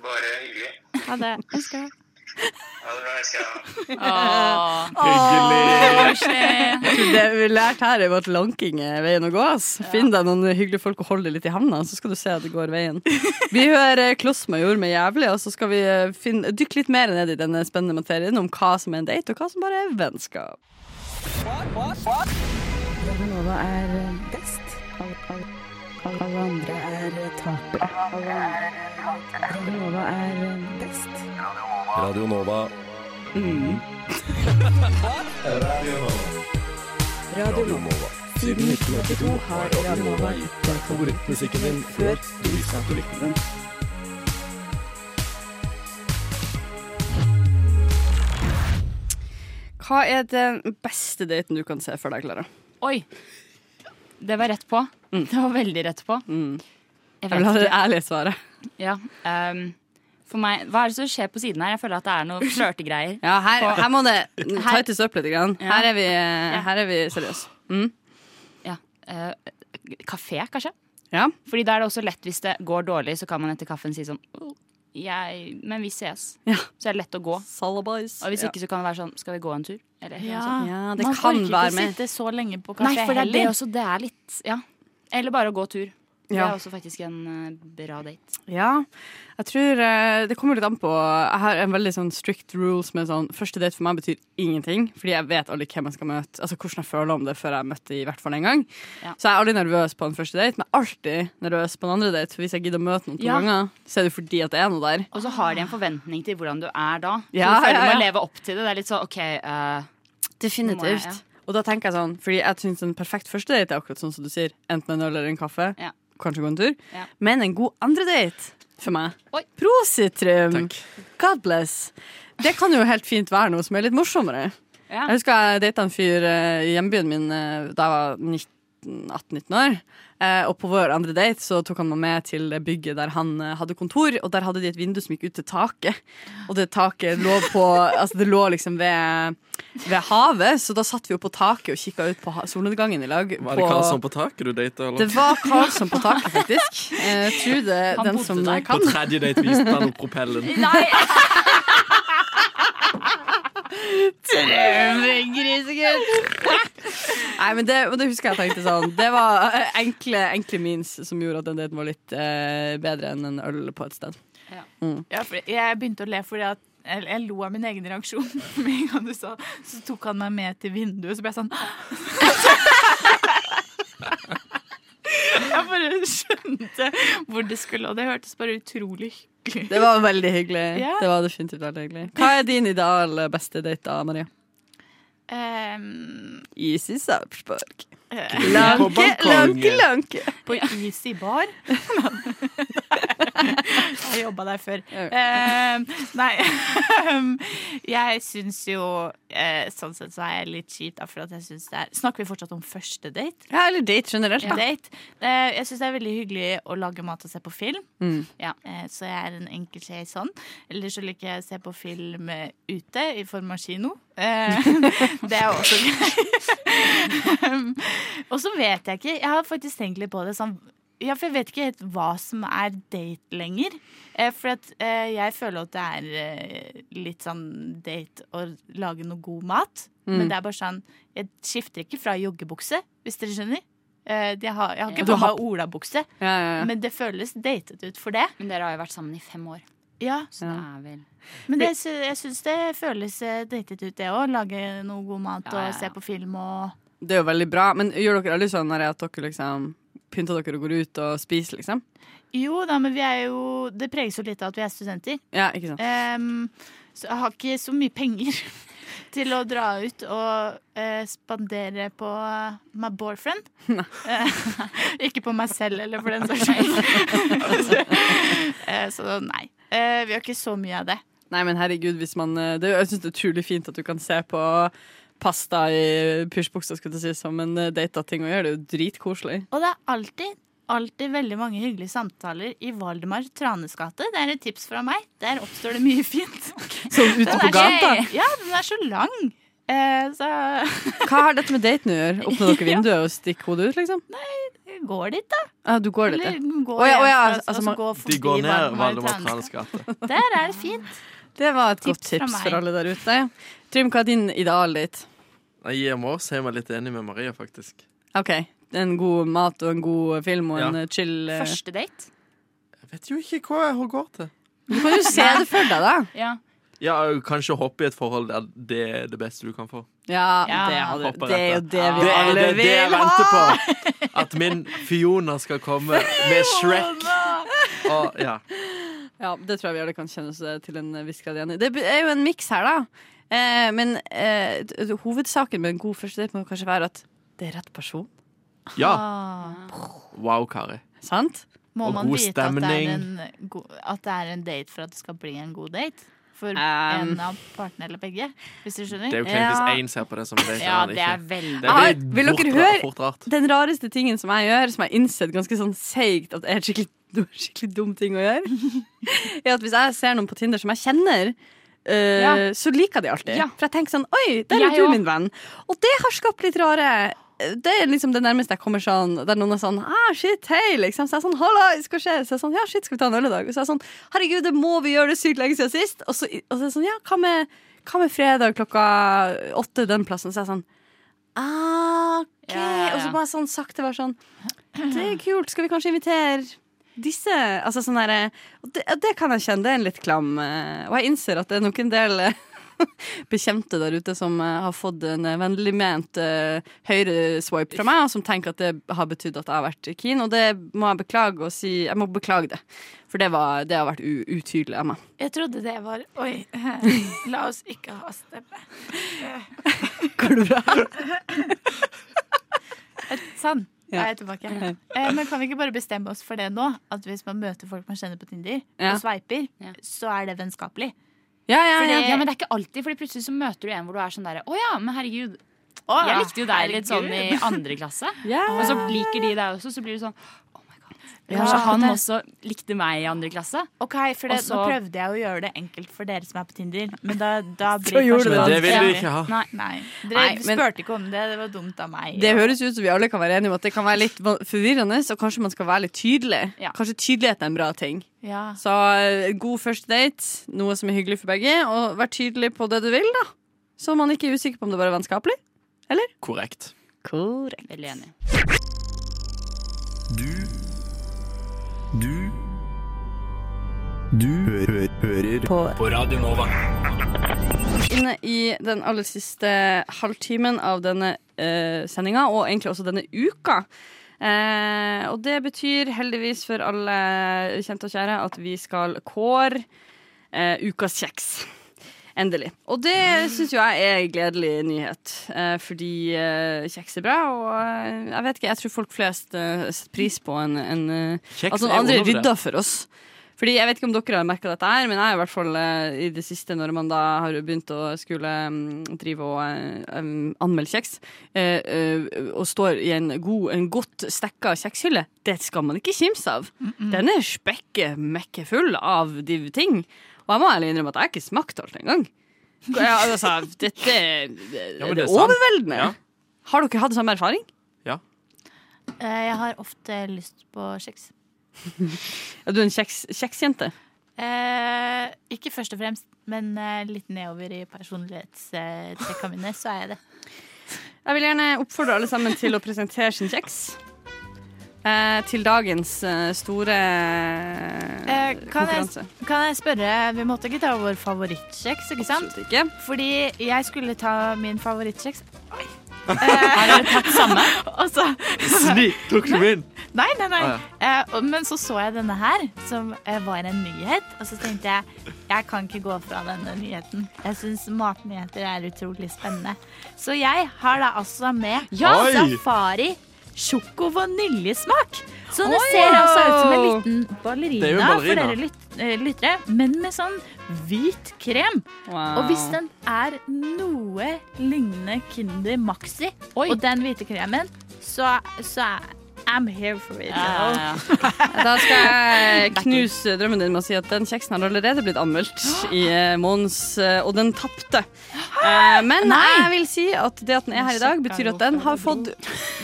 Bare hyggelig. Ha det. Jeg skal- Ha det bra. Jeg skal Åh, koselig. Det vi lærte her, er jo at lanking er veien å gå. Ass. Finn deg noen hyggelige folk og hold det litt i handa, så skal du se at det går veien. Vi hører Klossmajor med 'Jævlig', og så skal vi eh, finne, dykke litt mer ned i denne spennende materien om hva som er en date, og hva som bare er vennskap. Nova er best. Alle andre er tapere. Radio Nova er best. Radio Nova. Radio Nova. Siden 1982 har Radio Nova gitt deg favorittmusikken din før du visste at du likte den. Hva er den beste daten du kan se for deg, Klara? Oi. Det var rett på. Mm. Det var veldig rett på. Jeg Jeg vil vet ha det ikke. ærlige svaret. Ja. ehm, for meg, hva er det som skjer på siden her? Jeg føler at det er noe flørtegreier. Ja, her, her må det Her- tightes opp litt. Grann. Her er vi, eh, her er vi seriøse. Ja. eh, kafé, kanskje? Ja. Fordi da er det også lett hvis det går dårlig, så kan man etter kaffen si sånn «Åh, jeg, men vi ses. Ja. Så det er lett å gå. Salabais. Og hvis ikke så kan det være sånn Skal vi gå en tur? Eller et eller annet sånt. Ja, det Man kan orker være ikke med. sitte så lenge på Nei, kafé for det er det heller. også. Det er litt Ja. Eller bare å gå tur. Det Ja. er også faktisk en eh, bra date. Ja, jeg tror eh, det kommer litt an på Jeg har en veldig sånn strict rules med sånn Første date for meg betyr ingenting, fordi jeg vet aldri hvem jeg skal møte. Altså hvordan jeg føler om det før jeg møtte i hvert fall en gang. Ja. Så jeg er aldri nervøs på en første date, men jeg er alltid nervøs på en andre date. For hvis jeg gidder å møte noen to Ja. ganger, så er det fordi at det er noe der. Og så har de en forventning til hvordan du er da. Så Ja, du føler ja, du ja. må leve opp til det. Det er litt sånn OK eh, Nå må jeg, ja. Definitivt. Og da tenker jeg sånn, fordi jeg syns en perfekt første date er akkurat sånn som du sier. Enten en øl eller en kaffe. Ja. Kanskje gå en tur. Ja. Men en god andre date for meg. Oi. Prosit, Trym. Takk. God bless. Det kan jo helt fint være noe som er litt morsommere. Ja. Jeg husker jeg data en fyr eh, i hjembyen min eh, da jeg var 19, 18-19 år. Eh, og på vår andre date så tok han meg med til det bygget der han eh, hadde kontor. Og der hadde de et vindu som gikk ut til taket. Og det taket lå på Altså det lå liksom ved, ved havet, så da satt vi jo på taket og kikka ut på ha- solnedgangen i lag. Var det på- Karlsson på taket du data, det eller? var Karlsson på taket, faktisk. Eh, Trude, Han den bodde som der. På kan. tredje date viste han opp propellen. Nei, Nei, men det, og det husker jeg tenkte sånn Det var eh, enkle, enkle means som gjorde at den daten var litt eh, bedre enn en øl på et sted. ja, for jeg begynte å le fordi at eller jeg lo av min egen reaksjon. Med en gang du sa Så tok han meg med til vinduet, så ble jeg sånn Jeg bare skjønte hvor det skulle, og det hørtes bare utrolig hyggelig ut. Det var veldig hyggelig. Ja. Det var definitivt veldig hyggelig Hva er din ideal eh, beste date, da, Maria? Ehm, Easy Sarpsborg. eh, På Lanke, balkongen. lanke, lanke. på Easy Bar. jeg jobba der før. Eh, nei Jeg syns jo eh, Sånn sett så er jeg litt kjip, da, for at jeg syns det er Snakker vi fortsatt om første date? Ja, eller date generelt, da. date. Eh, jeg syns det er veldig hyggelig å lage mat og se på film. Mm. Ja, eh, så jeg er en enkel skje i sånn. Eller så liker jeg å se på film eh, ute i form av kino. Eh, det er også greit. og så vet jeg ikke Jeg har faktisk tenkt litt på det sånn ja, for jeg vet ikke helt hva som er date lenger. Eh, for at, eh, jeg føler at det er eh, litt sånn date å lage noe god mat. Mm. Men det er bare sånn Jeg skifter ikke fra joggebukse, hvis dere skjønner. Eh, jeg, har, jeg har ikke Du på har- meg olabukse. Ja, ja, ja. Men det føles datet ut for det. Men dere har jo vært sammen i fem år. Ja, Så det er vel Men det, sy- jeg syns det føles eh, datet ut, det òg. Lage noe god mat Ja, ja, ja. og se på film og Det er jo veldig bra. Men gjør dere aldri sånn Maria, at dere liksom pynter dere og går ut og spiser, liksom? Jo da, men vi er jo Det preges jo litt av at vi er studenter. Ja, ikke sant? Em, så jeg har ikke så mye penger til å dra ut og eh, spandere på my boyfriend. Eh, ikke på meg selv, eller for den saks skyld. så, eh, så nei. Eh, vi har ikke så mye av det. Nei, men herregud, hvis man eh, det, Jeg syns det er utrolig fint at du kan se på pasta i pysjbuksa skulle jeg til å si, som en eh, data ting å gjøre. Det er jo dritkoselig. Og det er alltid, alltid veldig mange hyggelige samtaler i Valdemar Tranes gate. Det er et tips fra meg. Der oppstår det mye fint. Sånn ute på Den er gata. så- Ja, den er så lang. Eh, så Hva har dette med daten å gjøre? Åpne dere vinduet og stikke hodet ut, liksom? gå dit, da. Ja, du går litt, Eller ja. gå Å ja, å ja, hjem fra- altså, og så man- gå forbi De går ned Valdemar Valdemar Tranes Tranes gate. gate. Der er det fint. Det var et Tips godt tips fra meg. for alle der ute. Trym, hva er din idealdate? Nei, Jeg må også si meg litt enig med Maria, faktisk. OK. En god mat og en god film og Ja. en eh, chill eh, første date. Jeg vet jo ikke hva jeg går til. Du kan jo se det for deg, da. Ja. Ja, Kanskje hoppe i et forhold der det er det beste du kan få. Ja, Ja. det, hadde, Hopper det er jo etter. det vi Det er alle det, det jeg vil ha! venter på. At min Fiona skal komme med Shrek. Og, ja. Ja, det tror jeg vi alle kan kjenne oss eh, til en viss grad igjen i. Det er jo en miks her, da. Eh, men eh, d- d- hovedsaken med en god første date må kanskje være at det er rett person. ja. Ah, Wow, Kari. Sant? Må Og man god vite at det, stemning. er en, go- at det er en date for at det skal bli en god date? For en av partene eller begge, hvis du skjønner? Det er jo kleint Ja. hvis én ser på det som en date. ja, og den det er ikke. veldig Det Ah, blir vil dere fort, høre? fort rart. Den rareste tingen som jeg gjør, som jeg har innsett ganske sånn seigt at er en skikkelig, dum- skikkelig dum ting å gjøre, er at hvis jeg ser noen på Tinder som jeg kjenner, eh, Ja. så liker jeg de alltid. Ja. For jeg tenker sånn Oi, der Jeg er du, også. min venn. Og det har skapt litt rare det er liksom det nærmeste jeg kommer sånn der noen er sånn ah, shit, hei, liksom. Så jeg er sånn hallais, hva skjer? Så jeg er sånn ja, shit, skal vi ta en øl i dag? Og så er jeg sånn herregud, det må vi gjøre, det er sykt lenge siden sist. Og så, og så er jeg sånn ja, hva med, hva med fredag klokka åtte den plassen? Så jeg er sånn ah, OK. Ja, ja, ja. Og så bare sånn sakte bare sånn det er kult, skal vi kanskje invitere disse? Altså sånn der, og det, og det kan jeg kjenne, det er en litt klam eh, Og jeg innser at det er nok en del eh, bekjente der ute som eh, har fått en eh, vennlig ment eh, høyreswipe fra meg, og som tenker at det har betydd at jeg har vært keen, og det må jeg beklage og si Jeg må beklage det, for det, var, det har vært u utydelig av meg. Jeg trodde det var Oi, la oss ikke ha stemme. Går det bra? Sånn. Ja. Da er jeg tilbake. Eh, men kan vi ikke bare bestemme oss for det nå? At hvis man møter folk man kjenner på Tinder, Ja. og sveiper, Ja. så er det vennskapelig. Ja, ja, Fordi, ja. ja, men det er ikke alltid, fordi plutselig så møter du en hvor du er sånn derre Å ja, men herregud. Jeg likte jo deg litt sånn i andre klasse. Ja. Og så liker de deg også, så blir du sånn Oh my god. Ja, Kanskje han det- også likte meg i andre klasse? Ok, for det, Og så- Nå prøvde jeg å gjøre det enkelt for dere som er på Tinder, men da, da blir Så gjorde du det. kanskje Men det vil du vanskelig. ikke ha. Nei. Nei. Dere Nei, men- spurte ikke om det. Det var dumt av meg. Det høres ut som vi alle kan være enige om at det kan være litt va- forvirrende, og kanskje man skal være litt tydelig. Ja. Kanskje tydelighet er en bra ting. ja. Så eh, god første date, noe som er hyggelig for begge, og vær tydelig på det du vil, da. Så man ikke er usikker på om det bare er vennskapelig. Korrekt. Veldig enig. Du Du Du hø hører på. Radio Nova. Inne i den aller siste halvtimen av denne uh, sendinga, og egentlig også denne uka. Eh, og det betyr heldigvis for alle kjente og kjære at vi skal kåre eh, ukas kjeks. Endelig. Og det syns jo jeg er en gledelig nyhet, eh, fordi eh, kjeks er bra. Og eh, jeg vet ikke, jeg tror folk flest eh, setter pris på en, en eh, Kjeks At noen er andre undervurdert. rydder for oss. Fordi Jeg vet ikke om dere har merka dette, her, men jeg har i hvert fall eh, i det siste, når man da har begynt å skulle mm, drive og eh, em, anmelde kjeks, eh, eh, og står i en, god, en godt stekka kjekshylle, det skal man ikke kimse av. Den er spekke mekke full av de ting. Og jeg må ærlig innrømme at jeg har ikke smakt alt engang. Ja, altså, dette er, Ja, men det er det er sant. overveldende. Ja. Har dere hatt samme erfaring? Eh, Jeg har ofte lyst på kjeks. Er du en kjeks, kjeksjente? Eh, ikke først og fremst, men eh, litt nedover i personlighetstrekka mine, så er jeg det. Jeg vil gjerne oppfordre alle sammen til å presentere sin kjeks. Eh, til dagens eh, store eh, Eh, kan jeg- konkurranse. Kan jeg spørre, Vi måtte ikke ta vår favorittkjeks, ikke sant? Absolutt ikke. Fordi jeg skulle ta min favorittkjeks. Har dere tatt samme? Og så, Snik, tok du min? nei, nei, nei. Ah, Eh, og- men så så jeg denne her, som eh, var en nyhet. Og så tenkte jeg jeg kan ikke gå fra denne nyheten. Jeg syns matnyheter er utrolig spennende. Så jeg har da altså med Ja! Oi! safari sjoko-vaniljesmak. Så det ser altså ut som en liten Det er jo ballerina, en for ballerina. dere lyt- eh, lyttere, men med sånn hvit krem. Wow. Og hvis Ah. den er noe lignende Kinder Maxi og den hvite kremen, så, så er- I'm here for it. Ja, girl. ja, Da skal jeg knuse drømmen din med å si at den kjeksen har allerede blitt anmeldt i eh, Mons, eh, og den tapte. Eh, Men jeg vil si at det at den er her i dag, betyr at den har fått,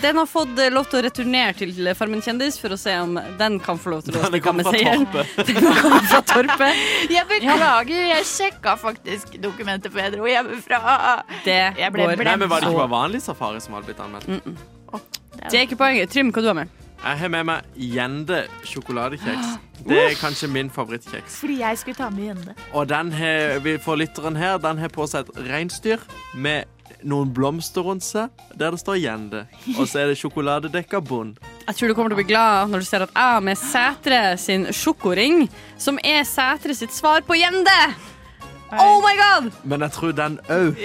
den har fått eh, lov til å returnere til eh, Farmen kjendis for å se om den kan få lov til å Den stikke av kom med fra seieren. Torpet. Den kommer fra Torpet. Jeg beklager, jeg sjekka faktisk dokumentet før jeg dro hjemmefra. Det Jeg ble går. Nei, men Var det ikke bare vanlig safari som hadde blitt anmeldt? Det er ikke poenget. Trym, hva du har med? Jeg har med meg Gjende sjokoladekjeks. Det er kanskje min favorittkjeks. Fordi jeg skulle ta med Jende. Og den har, vi- for lytteren her, den har på seg et reinsdyr med noen blomster rundt seg, der det står Gjende. Og så er det sjokoladedekka bunn. Jeg tror du kommer til å bli glad når du ser at jeg har med Sætre sin sjokoring, som er Sætre sitt svar på Gjende. Oh my god! Men jeg tror den òg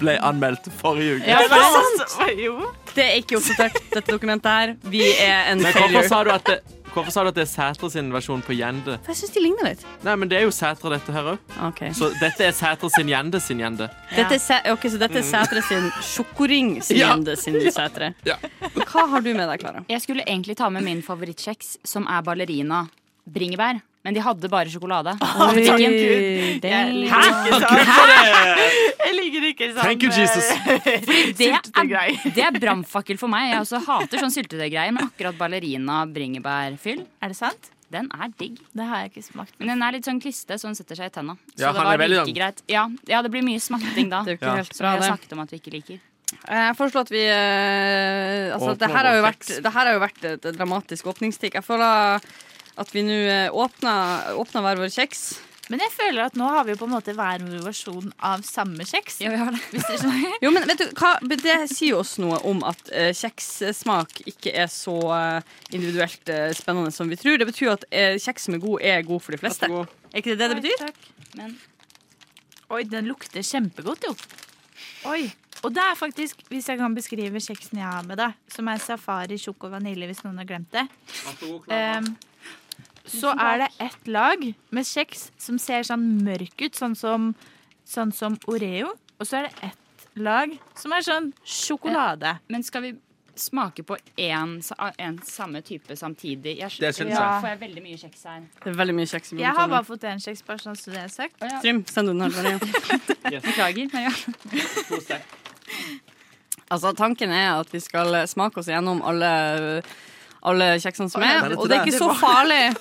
ble anmeldt forrige uke. altså, Er det sant? Det er ikke oppdatert, dette dokumentet her. Vi er en Men hvorfor failure. sa du at det, hvorfor sa du at det er Sæter sin versjon på Gjende? For jeg syns de ligner litt. Nei, men det er jo Sæter, dette her òg. Så dette er Sæter sin Gjende sin Gjende. Dette er, Sæ- ok, så dette er Sætre sin sjokoring sin Ja. Gjende sin Sætre. Ja. Hva har du med deg, Klara? Jeg skulle egentlig ta med min favorittkjeks, som er ballerina bringebær. Men de hadde bare sjokolade. Å, takk Gud. Jeg Den- liker ikke sånn. Jeg liker ikke sånn. Thank you, Jesus. Det er, Syltetøygreier. det er brannfakkel for meg. Jeg også hater sånn syltetøygreier, men akkurat ballerina bringebærfyll, Er det sant? den er digg. Det har jeg ikke smakt. Men den er litt sånn kliste, så den setter seg i tenna. Så Ja, det han var er veldig sånn- like lang. greit. Ja, ja, det blir mye smatting da. Det er jo ikke Ja. helt Som vi bra, har det. snakket om at vi ikke liker. Jeg foreslår at vi eh, altså, Åpner at det, her har jo vår vært, tekst. det her har jo vært et dramatisk åpningstikk. Jeg føler at vi nå eh, åpner, åpner hver vår kjeks. Men jeg føler at nå har vi på en måte hver vår versjon av samme kjeks. vi har det. Hvis dere skjønner. Jo, men vet du, hva, men Det sier jo oss noe om at eh, kjekssmak ikke er så eh, individuelt eh, spennende som vi tror. Det betyr jo at eh, kjeks som er god, er god for de fleste. Er ikke det det det betyr? Men Oi, den lukter kjempegodt, jo. Oi. Og det er faktisk, hvis jeg kan beskrive kjeksen jeg har med, da, som er safari, sjoko og vanilje, hvis noen har glemt det, Ehm, så er det ett lag med kjeks som ser sånn mørk ut, sånn som, sånn som Oreo. Og så er det ett lag som er sånn sjokolade. Men skal vi smake på én sa- en samme type samtidig? Jeg, Det syns Ja. jeg. Får jeg veldig mye kjeks her. Det er veldig mye kjeks. i munnen, Jeg har Tonje. bare fått én kjeks, bare sånn som det er sagt. Trym, send den her. til Maria. Beklager. Men ja. Altså, tanken er at vi skal smake oss gjennom alle, alle kjeksene som Nei, er, dette og det er der. ikke så farlig.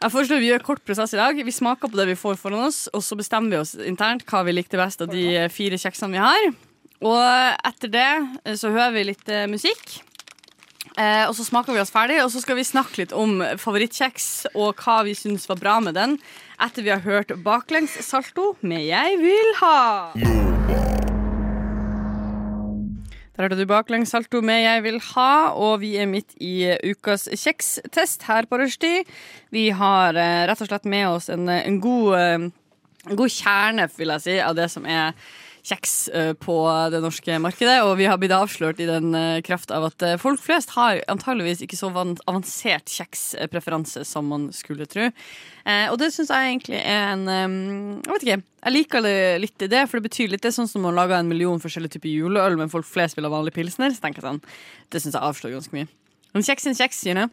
Jeg foreslår Vi gjør kort prosess i dag. Vi smaker på det vi får foran oss, og så bestemmer vi oss internt hva vi likte best av de fire kjeksene vi har. Og etter det eh, så hører vi litt eh, musikk. Eh, og så smaker vi oss ferdig, og så skal vi snakke litt om favorittkjeks og hva vi syns var bra med den, etter vi har hørt Baklengs salto med Jeg vil ha. Der hørte du baklengs salto med Jeg vil ha, og vi er midt i ukas kjekstest her på rushtid. Vi har eh, rett og slett med oss en, en, god, eh, en god kjerne, vil jeg si, av det som er kjeks eh, på det norske markedet. Og vi har blitt avslørt i den eh, kraft av at eh, folk flest har antageligvis ikke så van- avansert kjekspreferanse som man skulle tro. Eh, og det syns jeg egentlig er en eh, Jeg vet ikke. Jeg liker det litt i det, for det betyr litt. Det er sånn som man lager en million forskjellige typer juleøl, men folk flest vil ha vanlig pilsner. Så tenker jeg sånn, Det syns jeg avslører ganske mye. Men kjeks er en kjeks, you know.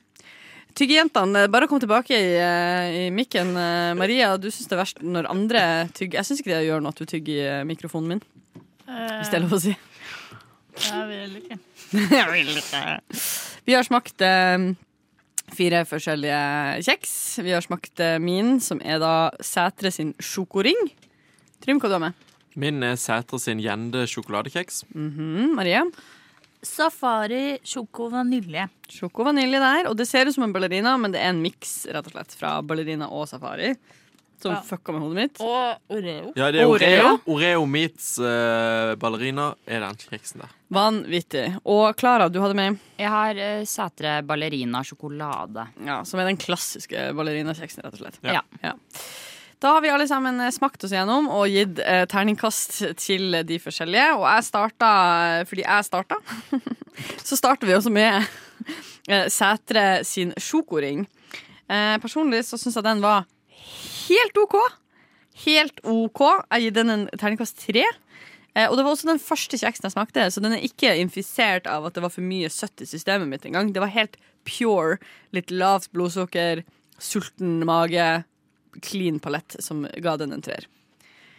Tyggejentene, eh, bare kom tilbake i, eh, i mikken. eh, Maria, du syns det er verst når andre tygger. Jeg syns ikke det gjør noe at du tygger i eh, mikrofonen min, hvis det er lov å si. Vi har smakt eh, fire forskjellige kjeks. Vi har smakt eh, min, som er da Sætre sin sjokoring. Trym, hva du har med? Min er Sæter sin gjende sjokoladekjeks. Mm, Marie. Safari, sjoko og vanilje. Sjoko og vanilje der. Og det ser ut som en ballerina, men det er en miks rett og slett fra ballerina og safari. Som Ja. fucka med hodet mitt. Og Oreo. Ja, det er Oreo. Oreo? Oreo Meats eh, ballerina er den kjeksen der. Vanvittig. Og Klara, du hadde med, Jeg har eh, Sætre ballerina sjokolade. ja, som er den klassiske ballerinakjeksen, rett og slett. Ja. Da har vi alle sammen eh, smakt oss gjennom og gitt eh, terningkast til de forskjellige. Og jeg starta eh, fordi jeg starta. så starter vi også med eh, Sætre sin sjokoring. Eh, personlig så syns jeg den var helt OK. Helt OK. Jeg gir den en terningkast tre. Eh, og det var også den første kjeksen jeg smakte, så den er ikke infisert av at det var for mye søtt i systemet mitt engang. Det var helt pure. Litt lavt blodsukker, sulten mage clean palett som ga den en treer.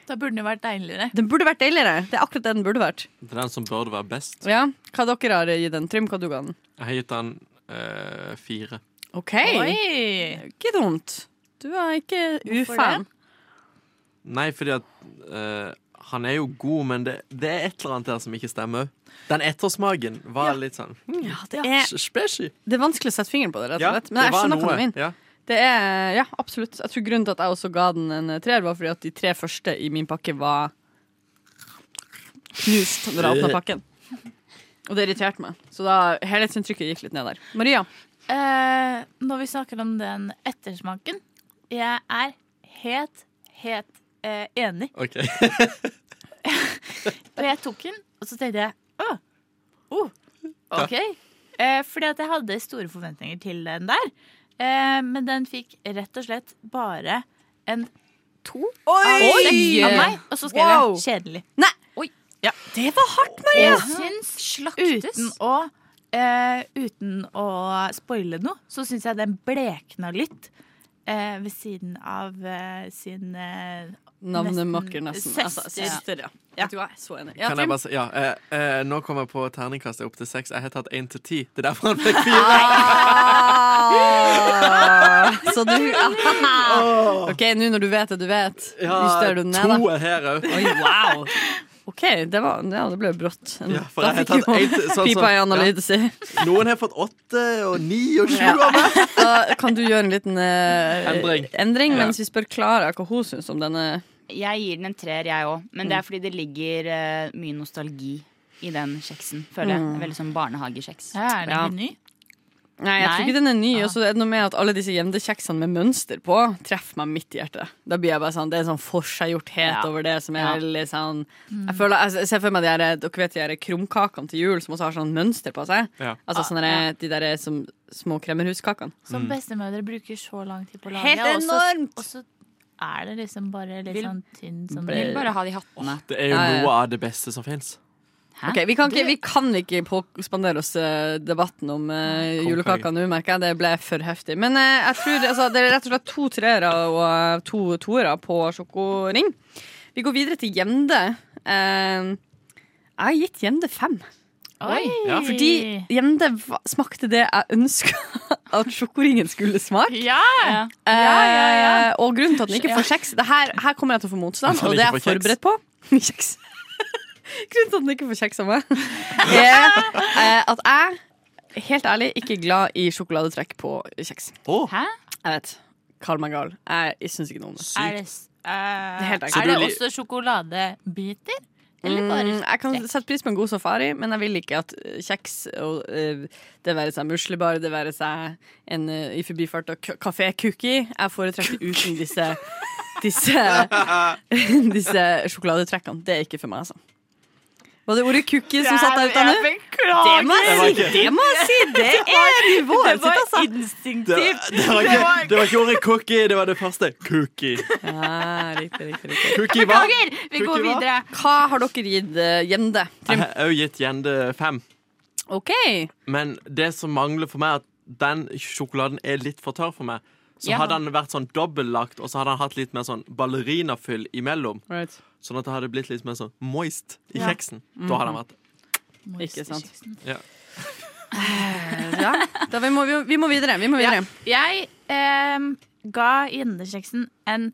Da burde det vært deiligere. Den burde vært deiligere. Det er akkurat det den burde vært. Det er den som burde være best. Ja, Hva dere har gitt den? Trym, hva du ga den? Jeg har gitt den eh, fire. OK. Oi! Ikke dumt. Du er ikke Hvorfor ufan. Nei, fordi at eh, han er jo god, men det, det er et eller annet der som ikke stemmer. Den ettersmaken var litt sånn Ja, det, er, s- speshy. det er vanskelig å sette fingeren på det, rett og slett. Men det jeg var skjønner hva du mener. Ja. Det er, ja, absolutt. Jeg tror grunnen til at jeg også ga den en treer, var fordi at de tre første i min pakke var knust når jeg åpna pakken. Og det irriterte meg. Så da helhetsinntrykket gikk litt ned der. Maria, Eh, når vi snakker om den ettersmaken Jeg er helt, helt eh, enig. OK. Og jeg tok den, og så tenkte jeg Å, oh, OK. Eh, fordi at jeg hadde store forventninger til den der. Eh, men den fikk rett og slett bare en to av seks av meg. Og så skrev Wow. jeg 'kjedelig'. det var hardt, Maria! Jeg syns, uten å eh, Uten å spoile noe, så syns jeg den blekna litt. eh, ved siden av eh, sin eh, Navnemakker, nesten. Altså, Søster. søster, ja. ja. Du er så enig. Ja, Kan jeg Trym? bare si, ja, eh, eh, nå kommer jeg på terningkastet opp til seks. Jeg har tatt én til ti. Det er derfor han fikk fire. Ah, så du Ah. OK, nå når du vet det du vet, justerer du den ned, to da. er her òg. Oi, wow. OK, det, var, ja, det ble brått. Ja, for da jeg fikk har tatt jo en- sånn som- pipa i ja. analyse. Noen har fått åtte og ni og sju av meg. Da kan du gjøre en liten eh, Endring. endring mens vi spør Klara hva hun syns om denne. Jeg gir den en treer, jeg òg. Men Mm. det er fordi det ligger eh, mye nostalgi i den kjeksen, Mm. føler jeg. Det er Veldig sånn barnehagekjeks. Ja, er den Ja. ikke ny? Nei, jeg tror Nei. ikke den er ny. Og så er det noe med at alle disse jevndekjeksene med mønster på treffer meg midt i hjertet. Da blir jeg bare sånn, Det er en sånn forseggjorthet Ja. over det som er Ja. veldig sånn Jeg føler, jeg ser for meg de her, dere vet de her krumkakene til jul som også har sånn mønster på seg. Ja. Altså sånne, De der som små kremmerhuskakene. Som bestemødre bruker så lang tid på å lage. Helt og så- enormt! Og så er det liksom bare litt Vil- sånn tynn sånn Jeg vil bare ha de hattene. Det er jo Ja, ja, ja. noe av det beste som fins. Hæ? Ok, vi, kan ikke, vi kan ikke påspandere oss eh, debatten om uh, julekaka nå, merker jeg. Det ble for heftig. Men eh, jeg tror altså, det er rett og slett to treere og eh, to toere på sjokoring. Vi går videre til Gjende. Eh, jeg har gitt Gjende fem. Oi! Ja, Fordi Gjende va- smakte det jeg ønska at sjokoringen skulle smake. Ja! Eh, og grunnen til at den ikke får kjeks det her, her kommer jeg til å få motstand, At den og det er ikke jeg får kjeks. forberedt på. Kjeks. grunnen til at den ikke får kjeks av meg, er eh, at jeg, helt ærlig, ikke er glad i sjokoladetrekk på kjeks. Hæ? Jeg vet. Kall meg gal. Jeg, jeg syns ikke noe om det. Er det, s- eh, er helt det, ekkelt. Så du li- også sjokoladebiter? Eller bare Mm, jeg kan trekk? sette pris på en god safari, men jeg vil ikke at eh, kjeks, og, eh, det være seg muslebar, det være seg en eh, i forbifarta k- kafé-cookie Jeg foretrekker uten disse disse, disse sjokoladetrekkene. Det er ikke for meg, altså. Var det ordet cookie som satt der ute nå? Det må jeg si! Det, må jeg si. det er nivået sitt, altså. Det, det, var ikke, det var ikke ordet cookie, det var det første. Cookie. Ja, riktig, riktig, riktig. Cookie hva? Jeg Vi går Cookie hva? videre. Hva har dere gitt eh, Gjende? Trym? har også gitt Gjende fem. OK. Men det som mangler for meg, er at den sjokoladen er litt for tørr for meg. Så Ja. hadde den vært sånn dobbellagt, og så hadde den hatt litt mer sånn ballerinafyll imellom. Sånn at det hadde blitt litt mer sånn moist i Ja. kjeksen. Da hadde den vært Ikke sant. ja. Ja, da vi, må, vi, vi må videre. Vi må Ja. videre. Jeg ehm, ga jendekjeksen en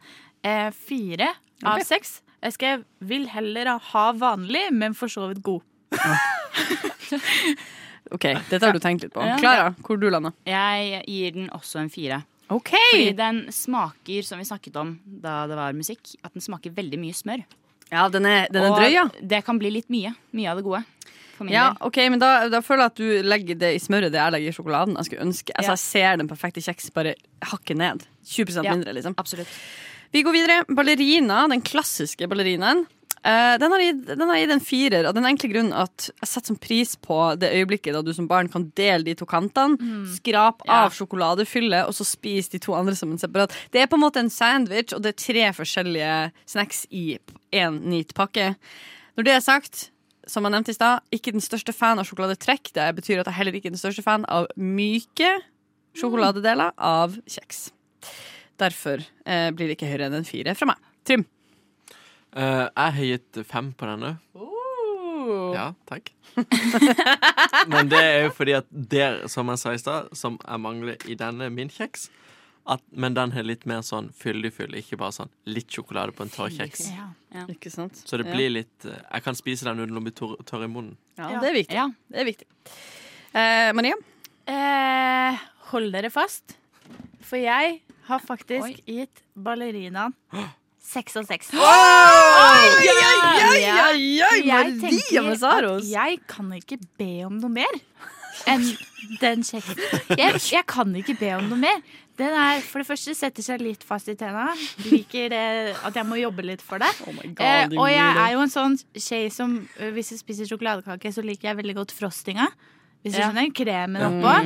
eh, fire av seks. Jeg skrev 'vil heller ha vanlig, men for så vidt god'. Ok, Dette har du tenkt litt på. Klara, hvor du landa Jeg gir den også en fire. Ok Fordi den smaker, som vi snakket om da det var musikk, at den smaker veldig mye smør. Ja, den er, den er drøy, ja. Og det kan bli litt mye. Mye av det gode. For min ja del. ok, men da, da føler jeg at du legger det i smøret det jeg legger i sjokoladen. Jeg skulle ønske, altså Ja. jeg ser den perfekte kjeks bare hakke ned. 20 Ja. mindre, liksom. Absolutt. Vi går videre. Ballerina, den klassiske ballerinaen. eh, den har gitt- den har gitt en firer av den enkle grunnen at jeg setter sånn pris på det øyeblikket da du som barn kan dele de to kantene, skrap Ja. av sjokoladefyllet, og så spise de to andre som en separat. Det er på en måte en sandwich, og det er tre forskjellige snacks i én neat pakke. Når det er sagt, som jeg nevnte i stad, ikke den største fan av sjokoladetrekk. Det betyr at jeg heller ikke er den største fan av myke sjokoladedeler av kjeks. Derfor eh, blir det ikke høyere enn en fire fra meg. Trym. Eh, Jeg har gitt fem på denne. Ja, takk. Men det er jo fordi at der, som jeg sa i stad, som jeg mangler i denne min kjeks at, Men den har litt mer sånn fyldig fyll, ikke bare sånn litt sjokolade på en tørr kjeks. Ja. Ikke sant? Så det blir litt eh, Jeg kan spise den uten å bli tørr tørr i munnen. Ja, det er viktig. Ja. Det er viktig. Eh, Maria? Eh, hold dere fast, for jeg har faktisk gitt ballerinaen seks av seks. Ja, ja, Jeg tenker at jeg kan ikke be om noe mer enn den kjeksen. Jeg, jeg kan ikke be om noe mer. Den er, for det første setter seg litt fast i tenna. Liker det, at jeg må jobbe litt for det. Oh Eh, og jeg er jo en sånn skje som eh, Hvis jeg spiser sjokoladekake, så liker jeg veldig godt frostinga. Hvis du Ja. Mm. skjønner, Kremen oppå.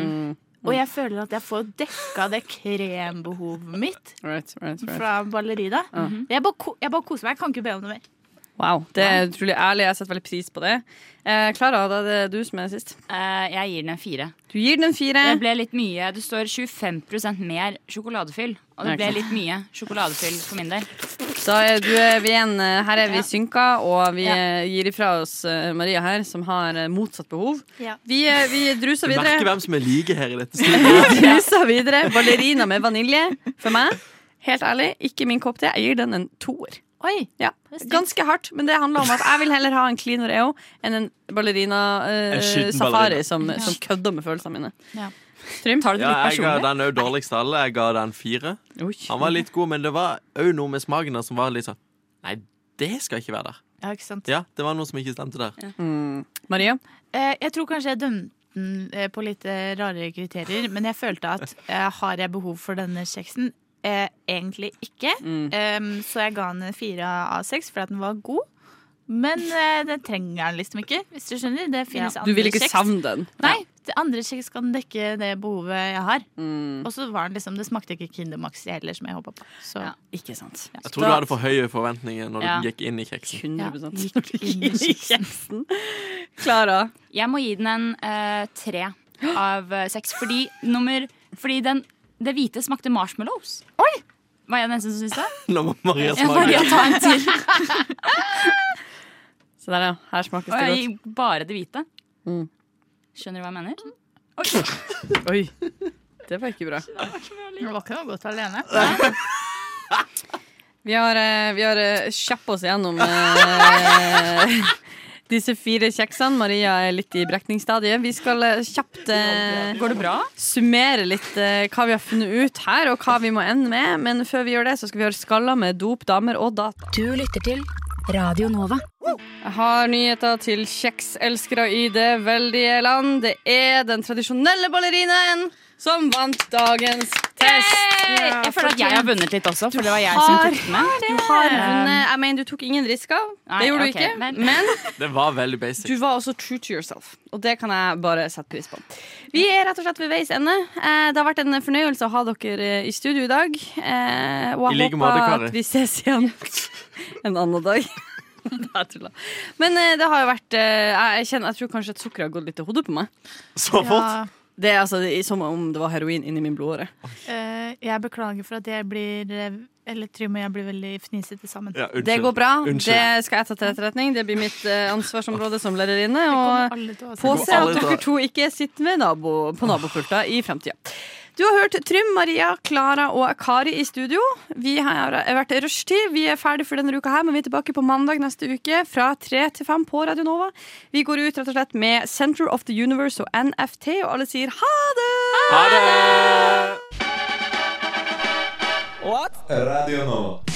Og jeg føler at jeg får dekka det krembehovet mitt Right, right, right. fra ballerina. Jeg, bare ko- jeg bare koser meg. Jeg kan ikke be om noe mer. Wow, Det er utrolig ærlig. Jeg setter veldig pris på det. Eh, Klara, da er det du som er sist. Eh, jeg gir den en fire. Du gir den en fire. Det ble litt mye. Det står 25 mer sjokoladefyll. Og det Ja, ikke ble sant. litt mye sjokoladefyll for min del. Da er du er vi igjen, eh, her er vi Ja. synka, og vi Ja. eh, gir ifra oss eh, Maria her, som har eh, motsatt behov. Ja. Vi, eh, vi Du druser merker videre. hvem som er like her i dette studioet. Vi druser videre. Ballerina med vanilje, for meg. Helt ærlig, ikke min kopp te. Jeg gir den en toer. Oi! Ja. Ganske hardt, men det handler om at jeg vil heller ha en clean oreo enn en ballerina eh, En skitten safari ballerina. Som, som kødder med følelsene mine. Ja. Trym, tar du det Ja, litt jeg ga personlig? den òg dårligst av alle. Jeg ga den fire. Han var litt god, men det var òg noe med smaken der som var litt sånn Nei, det skal ikke være der. Ja, ikke sånn sant? Ja, det var noe som ikke stemte der. Mm. Maria? Eh, jeg tror kanskje jeg dømte den eh, på litt eh, rare kriterier, men jeg følte at eh, har jeg behov for denne kjeksen? Eh, egentlig ikke. Mm. Eh, så jeg ga den en fire av seks fordi at den var god. Men eh, det trenger den liksom ikke, hvis du skjønner. Det finnes Du andre vil ikke kjeks. savne den? Nei, det andre kjeks kan dekke det behovet jeg har. Mm. Og så var den liksom, det smakte ikke Kinder Maxi heller, som jeg håpa på. Så Ja. Ikke sant. Jeg tror du hadde for høye forventninger når Ja. du gikk inn i kjeksen. 100 gikk inn i kjeksen. Klara? Jeg må gi den en eh, tre av eh, seks. Fordi, nummer, fordi den, det hvite smakte marshmallows. Oi! Var jeg den eneste som syntes det? Nå må Maria Jeg bare smake. ta en til. Så der, ja. Her smakes Og det jeg godt. Mm. gir bare det hvite. Skjønner du hva jeg mener? Oi. Det var ikke bra. Det var ikke noe godt alene. Vi har, eh, vi har eh, kjappet oss gjennom eh, disse fire kjeksene. Maria er litt i brekningsstadiet. Vi skal eh, kjapt eh, Går det bra? summere litt eh, hva vi har funnet ut her, og hva vi må ende med. Men før vi gjør det, så skal vi høre Skalla med dop, damer og data. Du lytter til Radio Nova. Jeg har nyheter til kjekselskere i det veldige land. Det er den tradisjonelle ballerinaen som vant dagens test. jeg føler at jeg har vunnet litt også, for det var jeg som har- tok den med. Du har vunnet. Jeg mener, du tok ingen risker. Nei, det gjorde du ok, ikke. men- men Det var veldig basic. Du var også true to yourself, og det kan jeg bare sette pris på. Vi er rett og slett ved veis ende. Eh, Det har vært en fornøyelse å ha dere eh, i studio i dag. eh, Og I jeg like måte, håper Kari. at vi ses igjen en annen dag. Det er tulla. Men eh, det har jo vært eh, Jeg, kjenner, jeg tror kanskje at sukkeret har gått litt til hodet på meg. Så fort! Det er altså det er som om det var heroin inni min blodåre. Eh, jeg beklager for at jeg blir eh, Eller Trym og jeg blir veldig fnisete sammen. Ja, unnskyld. Det går bra. Unnskyld. Det skal jeg ta til etterretning. Det blir mitt eh, ansvarsområde som lærerinne. Det kommer Og alle til å ha seg. Påse at dere to ikke sitter med nabo, på nabopulta i fremtida. Du har hørt Trym, Maria, Klara og Kari i studio. Vi har vært i rushtid. Vi er ferdig for denne uka her, men vi er tilbake på mandag neste uke fra tre til fem på Radio Nova. Vi går ut rett og slett med Center of the Universe og NFT, og alle sier ha det! Ha det! Radio Nova.